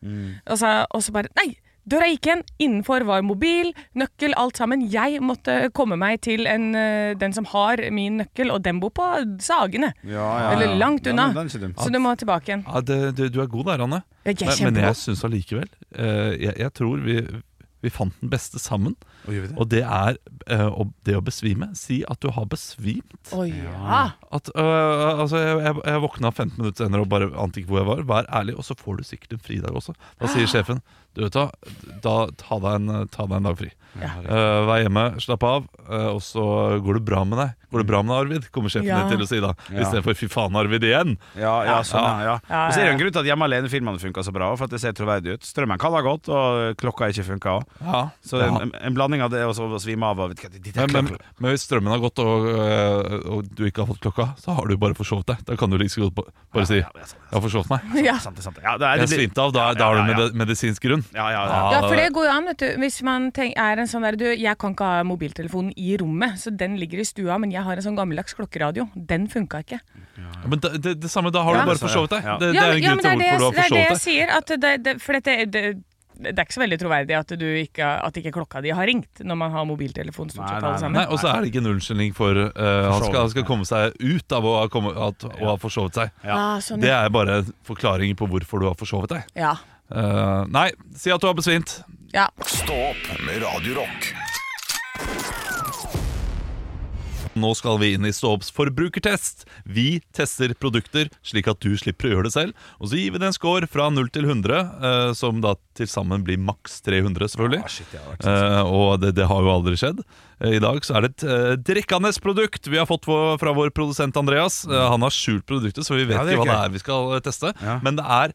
Speaker 4: og, så, og så bare Nei! Døra gikk igjen! Innenfor var mobil, nøkkel, alt sammen. Jeg måtte komme meg til en, eh, den som har min nøkkel, og den bor på Sagene. Eller langt
Speaker 2: Ja,
Speaker 4: unna.
Speaker 2: men den er ikke dum.
Speaker 4: så du må tilbake igjen.
Speaker 3: Ja, det, det, du er god der, Anne.
Speaker 4: Jeg er
Speaker 3: men, men jeg
Speaker 4: kjempegod.
Speaker 3: syns allikevel eh, jeg, jeg tror vi, vi fant den beste sammen.
Speaker 2: Å, gjør vi det?
Speaker 3: Og det er eh, å- det å besvime. Si at du har besvimt.
Speaker 4: Å ja.
Speaker 3: At, eh, altså, jeg, jeg, jeg våkna 15 minutter senere og bare ante ikke hvor jeg var. Vær ærlig, og så får du sikkert en fridag også. Da sier sjefen du vet da, da ta, deg en, ta deg en dag fri. Eh, vær hjemme, slapp av, eh, og så går det bra med deg. Går det bra med deg, Arvid? Kommer sjefen
Speaker 4: Ja.
Speaker 3: din til å si da.
Speaker 2: Ja.
Speaker 3: Istedenfor fy faen, Arvid, igjen.
Speaker 2: Ja, ja, sånn, ja, ja.
Speaker 4: Ja, ja,
Speaker 2: Og så er det
Speaker 4: ja.
Speaker 2: en grunn til at hjemme alene-filmene funka så bra. For at det ser troverdig ut Strømmen kan ha gått, og klokka ikke funka òg.
Speaker 3: Ja.
Speaker 2: Så en, en, en blanding av det og så å svime av og vet du hva, det- det-
Speaker 3: Men, men, men hvis strømmen har gått og, øh, og du ikke har fått klokka, så har du bare forsovet deg. Da kan du like så godt ba- bare si
Speaker 2: ja, altså, ja,
Speaker 3: 'jeg har forsovet meg'.
Speaker 4: ja.
Speaker 2: sant, det, sant. det. Ja, det er,
Speaker 3: Jeg
Speaker 2: det blir-
Speaker 3: svimte av. Ah. Da, da har du
Speaker 2: ja, ja, ja.
Speaker 3: medi- medisinsk grunn.
Speaker 2: Ja, ja, ja.
Speaker 4: Ja, for det går jo an, vet du. Hvis man tenk, er en sånn der du, Jeg kan ikke ha mobiltelefonen i rommet, så den ligger i stua, men jeg har en sånn gammeldags klokkeradio. Den funka ikke.
Speaker 3: Ja, Men da, det, det samme, da har
Speaker 4: Ja.
Speaker 3: du bare forsovet deg.
Speaker 2: Ja.
Speaker 3: Det, det
Speaker 4: ja,
Speaker 3: er
Speaker 4: men-
Speaker 3: en
Speaker 4: ja,
Speaker 3: grunn
Speaker 4: men det
Speaker 3: til
Speaker 4: er det,
Speaker 3: hvorfor du har
Speaker 4: det, er det jeg
Speaker 3: forsovet deg.
Speaker 4: sier. At det, det, for dette, det, det er ikke så veldig troverdig at, du ikke, at ikke klokka di har ringt når man har mobiltelefon stort
Speaker 2: Nei,
Speaker 4: sett
Speaker 2: nei,
Speaker 4: alle sammen.
Speaker 3: Nei, Og så er det ikke en unnskyldning for øh, han, skal, han skal komme seg ut av å ha, komme, at, å ha forsovet seg.
Speaker 4: Ja, sånn,
Speaker 3: Det
Speaker 4: ja.
Speaker 3: er bare en forklaring på hvorfor du har forsovet deg.
Speaker 4: ja.
Speaker 3: Eh, nei, si at du har besvimt.
Speaker 4: ja.
Speaker 1: Stå opp med Radio Rock.
Speaker 3: Nå skal vi inn i Ståops forbrukertest. Vi tester produkter slik at du slipper å gjøre det selv. Og så gir vi det en score fra 0 til 100, eh, som da til sammen blir maks 300,
Speaker 2: Ah,
Speaker 3: selvfølgelig.
Speaker 2: sånn.
Speaker 3: Eh, og det, det har jo aldri skjedd. Eh, I dag så er det et eh, drikkende produkt vi har fått vår, fra vår produsent Andreas. Eh, han har skjult produktet, så vi vet
Speaker 2: Ja, det er
Speaker 3: ikke hva det
Speaker 2: gøy.
Speaker 3: er vi skal eh, teste.
Speaker 2: Ja.
Speaker 3: Men det er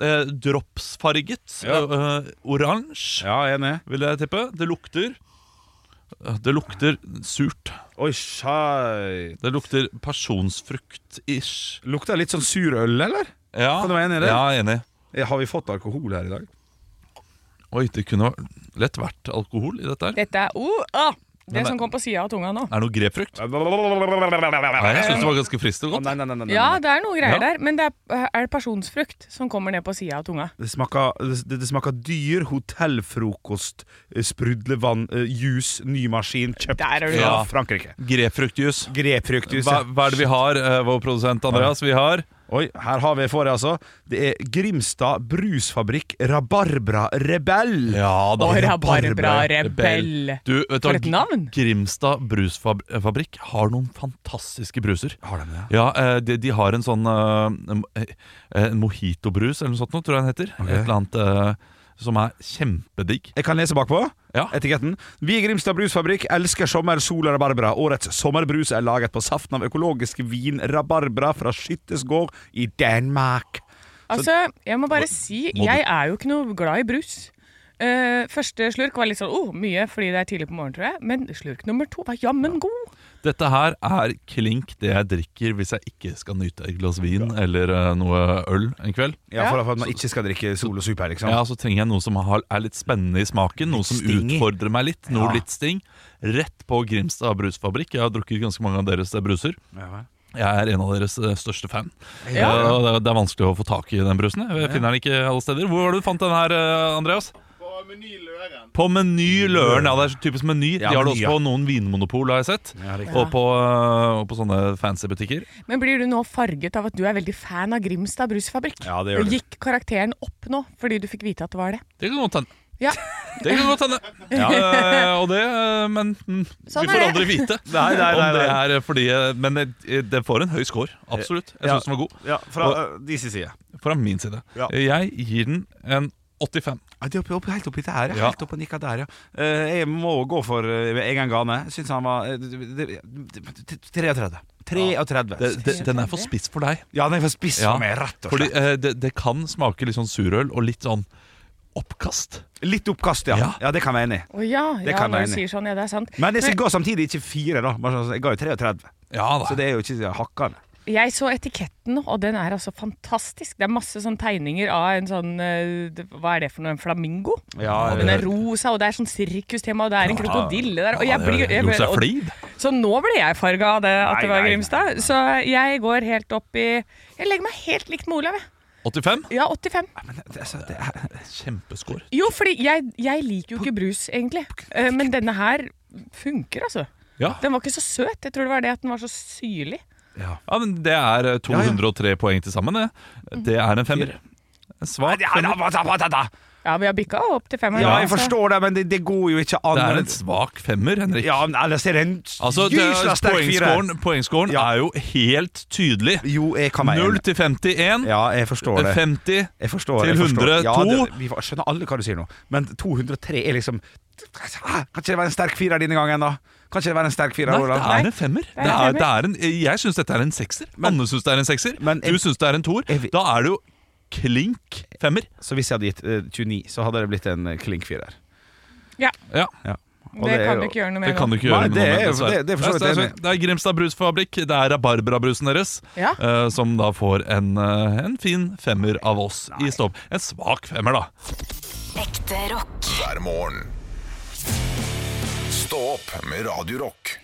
Speaker 3: eh, dropsfarget,
Speaker 2: Ja.
Speaker 3: eh, eh, oransje,
Speaker 2: Ja, jeg er enig.
Speaker 3: vil jeg tippe. Det lukter eh, Det lukter surt.
Speaker 2: Oi, sjei.
Speaker 3: Det lukter personsfrukt-ish.
Speaker 2: Lukter litt sånn sur øl, eller?
Speaker 3: Ja,
Speaker 2: Kan du være enig i det?
Speaker 3: Ja, enig.
Speaker 2: Eh, Har vi fått alkohol her i dag?
Speaker 3: Oi, det kunne lett vært alkohol i dette her.
Speaker 4: Dette er oh, ah,
Speaker 3: Men-
Speaker 4: Det som kom på sida av tunga nå.
Speaker 3: Er det noe grepfrukt? Nei, jeg syns
Speaker 2: Nei,
Speaker 3: det var ganske friskt og godt.
Speaker 2: nei, nei, nei, nei.
Speaker 4: Ja, det er noe
Speaker 3: Ja.
Speaker 4: greier der, men det er, er det personsfrukt som kommer ned på sida av tunga?
Speaker 2: Det smaker, det, det smaker dyr, hotellfrokost, eh, sprudlevann, eh, juice, ny maskin, kjøpt
Speaker 4: Der er
Speaker 2: fra
Speaker 4: du
Speaker 3: Ja.
Speaker 2: Frankrike.
Speaker 3: Grepfruktjuice.
Speaker 2: Grepfruktjuice.
Speaker 3: Hva,
Speaker 2: ja.
Speaker 3: hva er det vi har, eh, vår produsent Andreas? Vi har
Speaker 2: Oi, her har vi for det, altså. Det er Grimstad brusfabrikk Rabarbra Rebell.
Speaker 3: Ja
Speaker 4: Og Rabarbra
Speaker 2: Rabarbra
Speaker 4: Rebell.
Speaker 3: Du, vet du,
Speaker 4: For
Speaker 3: hva?
Speaker 4: et navn!
Speaker 3: Grimstad brusfabrikk har noen fantastiske bruser.
Speaker 2: Har de det?
Speaker 3: Ja, eh, de, de har en sånn eh, en- eh, En mojitobrus eller noe sånt, nå, tror jeg den heter. Et eller annet eh, som er kjempedigg.
Speaker 2: Jeg kan lese bakpå.
Speaker 3: Ja.
Speaker 2: Etiketten. Vi i Grimstad brusfabrikk elsker sommer, sol og rabarbra. Årets sommerbrus er laget på saften av økologisk vinrabarbra fra Skyttesgård i Danmark.
Speaker 4: Altså, jeg må bare si,
Speaker 3: må du-
Speaker 4: jeg er jo ikke noe glad i brus. Eh, første slurk var litt sånn oh, mye fordi det er tidlig på morgenen, tror jeg. Men slurk nummer to var jammen god.
Speaker 3: Dette her er klink det jeg drikker hvis jeg ikke skal nyte et glass vin eller eh, noe øl en kveld.
Speaker 2: Ja, for, for at man ikke skal drikke Solo Super, liksom.
Speaker 3: Ja, så trenger jeg noe som har, er litt spennende i smaken, noe som
Speaker 2: sting i.
Speaker 3: utfordrer meg litt, noe
Speaker 2: Ja.
Speaker 3: litt sting. Rett på Grimstad brusfabrikk. Jeg har drukket ganske mange av deres eh, bruser.
Speaker 2: Ja.
Speaker 3: Jeg er en av deres eh, største fan.
Speaker 4: Ja.
Speaker 3: Eh, og det, er- det er vanskelig å få tak i den brusen. Jeg finner den ikke alle steder. Hvor var det du fant den her, eh, Andreas? På Meny Løren. Ja, det er så typisk Meny. De
Speaker 2: Ja,
Speaker 3: har
Speaker 2: Meny,
Speaker 3: det også
Speaker 2: ja.
Speaker 3: på noen vinmonopol, har jeg sett.
Speaker 2: Ja, riktig.
Speaker 3: og, på, eh, og på sånne fancy butikker.
Speaker 4: Men blir du nå farget av at du er veldig fan av Grimstad brusfabrikk?
Speaker 2: Ja, det gjør
Speaker 4: Og
Speaker 2: du.
Speaker 4: Gikk karakteren opp nå fordi du fikk vite at det var det?
Speaker 3: Det kan godt hende.
Speaker 4: Ja.
Speaker 3: Det kan godt hende. Eh, og det, eh, men mm,
Speaker 4: Sånn
Speaker 3: vi får
Speaker 4: er det.
Speaker 3: aldri vite
Speaker 2: Nei, nei, nei,
Speaker 3: om det
Speaker 2: nei.
Speaker 3: er eh, fordi eh, Men eh, det får en høy score. Absolutt. Jeg
Speaker 2: Ja.
Speaker 3: syns den var god.
Speaker 2: Ja, fra eh, de sin side.
Speaker 3: Fra min side.
Speaker 2: Ja.
Speaker 3: Jeg gir den en 85.
Speaker 2: Ja, de er oppe, oppe, helt oppi der, ja.
Speaker 3: Ja.
Speaker 2: Helt oppe og nikka der, ja. Eh, jeg må gå for uh, Egan Gane. Jeg Syns han var eh, det- det- 33. 33.
Speaker 3: Det, det, den er for spiss for deg.
Speaker 2: ja, den er for spiss
Speaker 3: Ja,
Speaker 2: for meg, rett og
Speaker 3: Fordi
Speaker 2: slett.
Speaker 3: eh, det, det kan smake litt sånn surøl og litt sånn oppkast.
Speaker 2: Litt oppkast, ja.
Speaker 3: Ja.
Speaker 2: ja. Det kan jeg være enig i.
Speaker 4: Å ja,
Speaker 2: Det
Speaker 4: ja
Speaker 2: kan
Speaker 4: når
Speaker 2: jeg
Speaker 4: du
Speaker 2: enig i.
Speaker 4: sier sånn, ja, det er sant.
Speaker 2: Men jeg ga samtidig ikke fire, da. Bare sånn, Jeg ga jo 33,
Speaker 3: Ja da.
Speaker 2: så det er jo ikke hakkende.
Speaker 4: Jeg så etiketten nå, og den er altså fantastisk. Det er masse sånn tegninger av en sånn eh, det- Hva er det for noe? En flamingo?
Speaker 2: Ja,
Speaker 4: Den er rosa, og det er sånn sirkustema, og det er en krokodille der. Og jeg blir, jeg,
Speaker 3: Rosa
Speaker 4: og-
Speaker 3: flid.
Speaker 4: så nå ble jeg farga av det at det
Speaker 2: Nei,
Speaker 4: var
Speaker 2: nei,
Speaker 4: Grimstad. Så jeg går helt opp i Jeg legger meg helt likt med Olav, jeg.
Speaker 3: 85.
Speaker 4: Ja, 85.
Speaker 2: Men det, altså, det er
Speaker 3: Kjempescore.
Speaker 4: Jo, fordi jeg, jeg liker jo ikke brus, egentlig. Eh, Men denne her funker, altså.
Speaker 3: Ja.
Speaker 4: Den var ikke så søt. Jeg tror det var det at den var så syrlig.
Speaker 3: Ja, men Det er eh, 203 poeng til sammen. Det.
Speaker 4: Mm.
Speaker 3: det er en femmer. En svak
Speaker 2: Ja, da,
Speaker 3: femmer.
Speaker 2: da, da, da, da.
Speaker 4: Ja, vi har bikka opp til femmeren.
Speaker 2: ja, jeg
Speaker 4: altså.
Speaker 2: forstår det, men det, det går jo ikke an.
Speaker 3: Det er en svak femmer, Henrik.
Speaker 2: Ja, men ellers er det en
Speaker 3: Altså, det er,
Speaker 2: gysla sterk fire.
Speaker 3: poengscoren poengscoren
Speaker 2: Ja.
Speaker 3: er jo helt tydelig.
Speaker 2: Jo, jeg kan være
Speaker 3: 0
Speaker 2: enig.
Speaker 3: til 51,
Speaker 2: Ja, jeg forstår det.
Speaker 3: 50
Speaker 2: Jeg forstår, jeg
Speaker 3: Til
Speaker 2: forstår.
Speaker 3: 102.
Speaker 2: Ja, det, vi skjønner alle hva du sier nå, men 203 er liksom Kan ikke det være en sterk firer denne gangen, da? Kan ikke det være en sterk firer?
Speaker 3: Nei, det
Speaker 2: Olav?
Speaker 3: er en femmer.
Speaker 4: er
Speaker 3: Det er,
Speaker 4: en
Speaker 3: det er en, jeg syns dette er en sekser. Anne syns det er en sekser.
Speaker 2: Men
Speaker 3: Du
Speaker 2: jeg-
Speaker 3: syns det er en toer.
Speaker 2: jeg-
Speaker 3: Da er det jo klink femmer.
Speaker 2: Så hvis jeg hadde gitt eh, 29, så hadde det blitt en eh, klink firer.
Speaker 4: Ja,
Speaker 3: Ja,
Speaker 2: Ja. Og
Speaker 4: det,
Speaker 2: er
Speaker 4: kan
Speaker 2: jo-
Speaker 4: du ikke gjøre noe med.
Speaker 3: Det kan du ikke
Speaker 2: Nei,
Speaker 3: gjøre
Speaker 2: det
Speaker 3: noe
Speaker 2: er-
Speaker 3: med, dessverre.
Speaker 2: det- det er for så vidt
Speaker 3: det,
Speaker 2: enig.
Speaker 3: er, det er Grimstad brusfabrikk, det er rabarbrabrusen deres,
Speaker 4: Ja.
Speaker 3: eh, som da får en, eh, en fin femmer av oss i stopp. En svak femmer, da.
Speaker 5: Ekte rock.
Speaker 1: hver morgen. Stå opp med Radio Rock.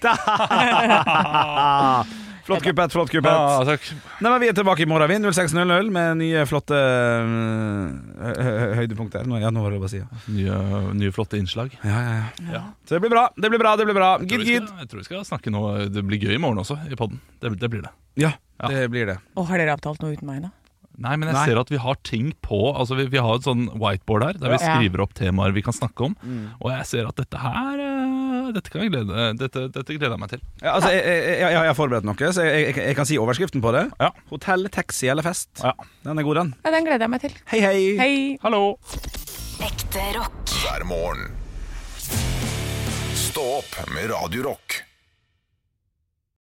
Speaker 2: Flott kuppet, flott kuppet.
Speaker 3: Ah, takk.
Speaker 2: Nei, men Vi er tilbake i morgen, vi. 06.00 med nye, flotte eh, hø- hø- høydepunkter. Nå, ja, nå var det lov å si. Ja.
Speaker 3: Nye, nye, flotte innslag.
Speaker 2: Ja, ja, ja.
Speaker 3: Ja.
Speaker 2: Så det blir bra. det blir bra, det blir bra
Speaker 3: Jeg tror
Speaker 2: Gid,
Speaker 3: vi
Speaker 2: gid.
Speaker 3: skal, jeg tror vi skal snakke nå. Det blir gøy i morgen også, i podden. Det, det blir det.
Speaker 2: Ja,
Speaker 3: Ja.
Speaker 2: det blir det.
Speaker 4: Og har dere avtalt noe uten meg, da?
Speaker 3: Nei, men jeg
Speaker 2: Nei.
Speaker 3: ser at vi har ting på Altså vi, vi har et sånn whiteboard her Der vi
Speaker 4: Ja.
Speaker 3: skriver opp temaer vi kan snakke om
Speaker 2: Mm.
Speaker 3: Og jeg ser at dette her eh, Dette, kan jeg glede, dette, dette gleder jeg meg til
Speaker 2: Ja, altså, jeg, jeg, jeg, jeg har forberedt noe, så jeg, jeg, jeg kan si overskriften på det.
Speaker 3: Ja.
Speaker 2: Hotell, taxi eller fest.
Speaker 3: Ja.
Speaker 2: Den er god, den.
Speaker 4: Ja, Den gleder jeg meg til.
Speaker 2: Hei, hei.
Speaker 4: Hei.
Speaker 3: Hallo
Speaker 5: Ekte rock.
Speaker 1: hver morgen. Stå opp med Radio Rock.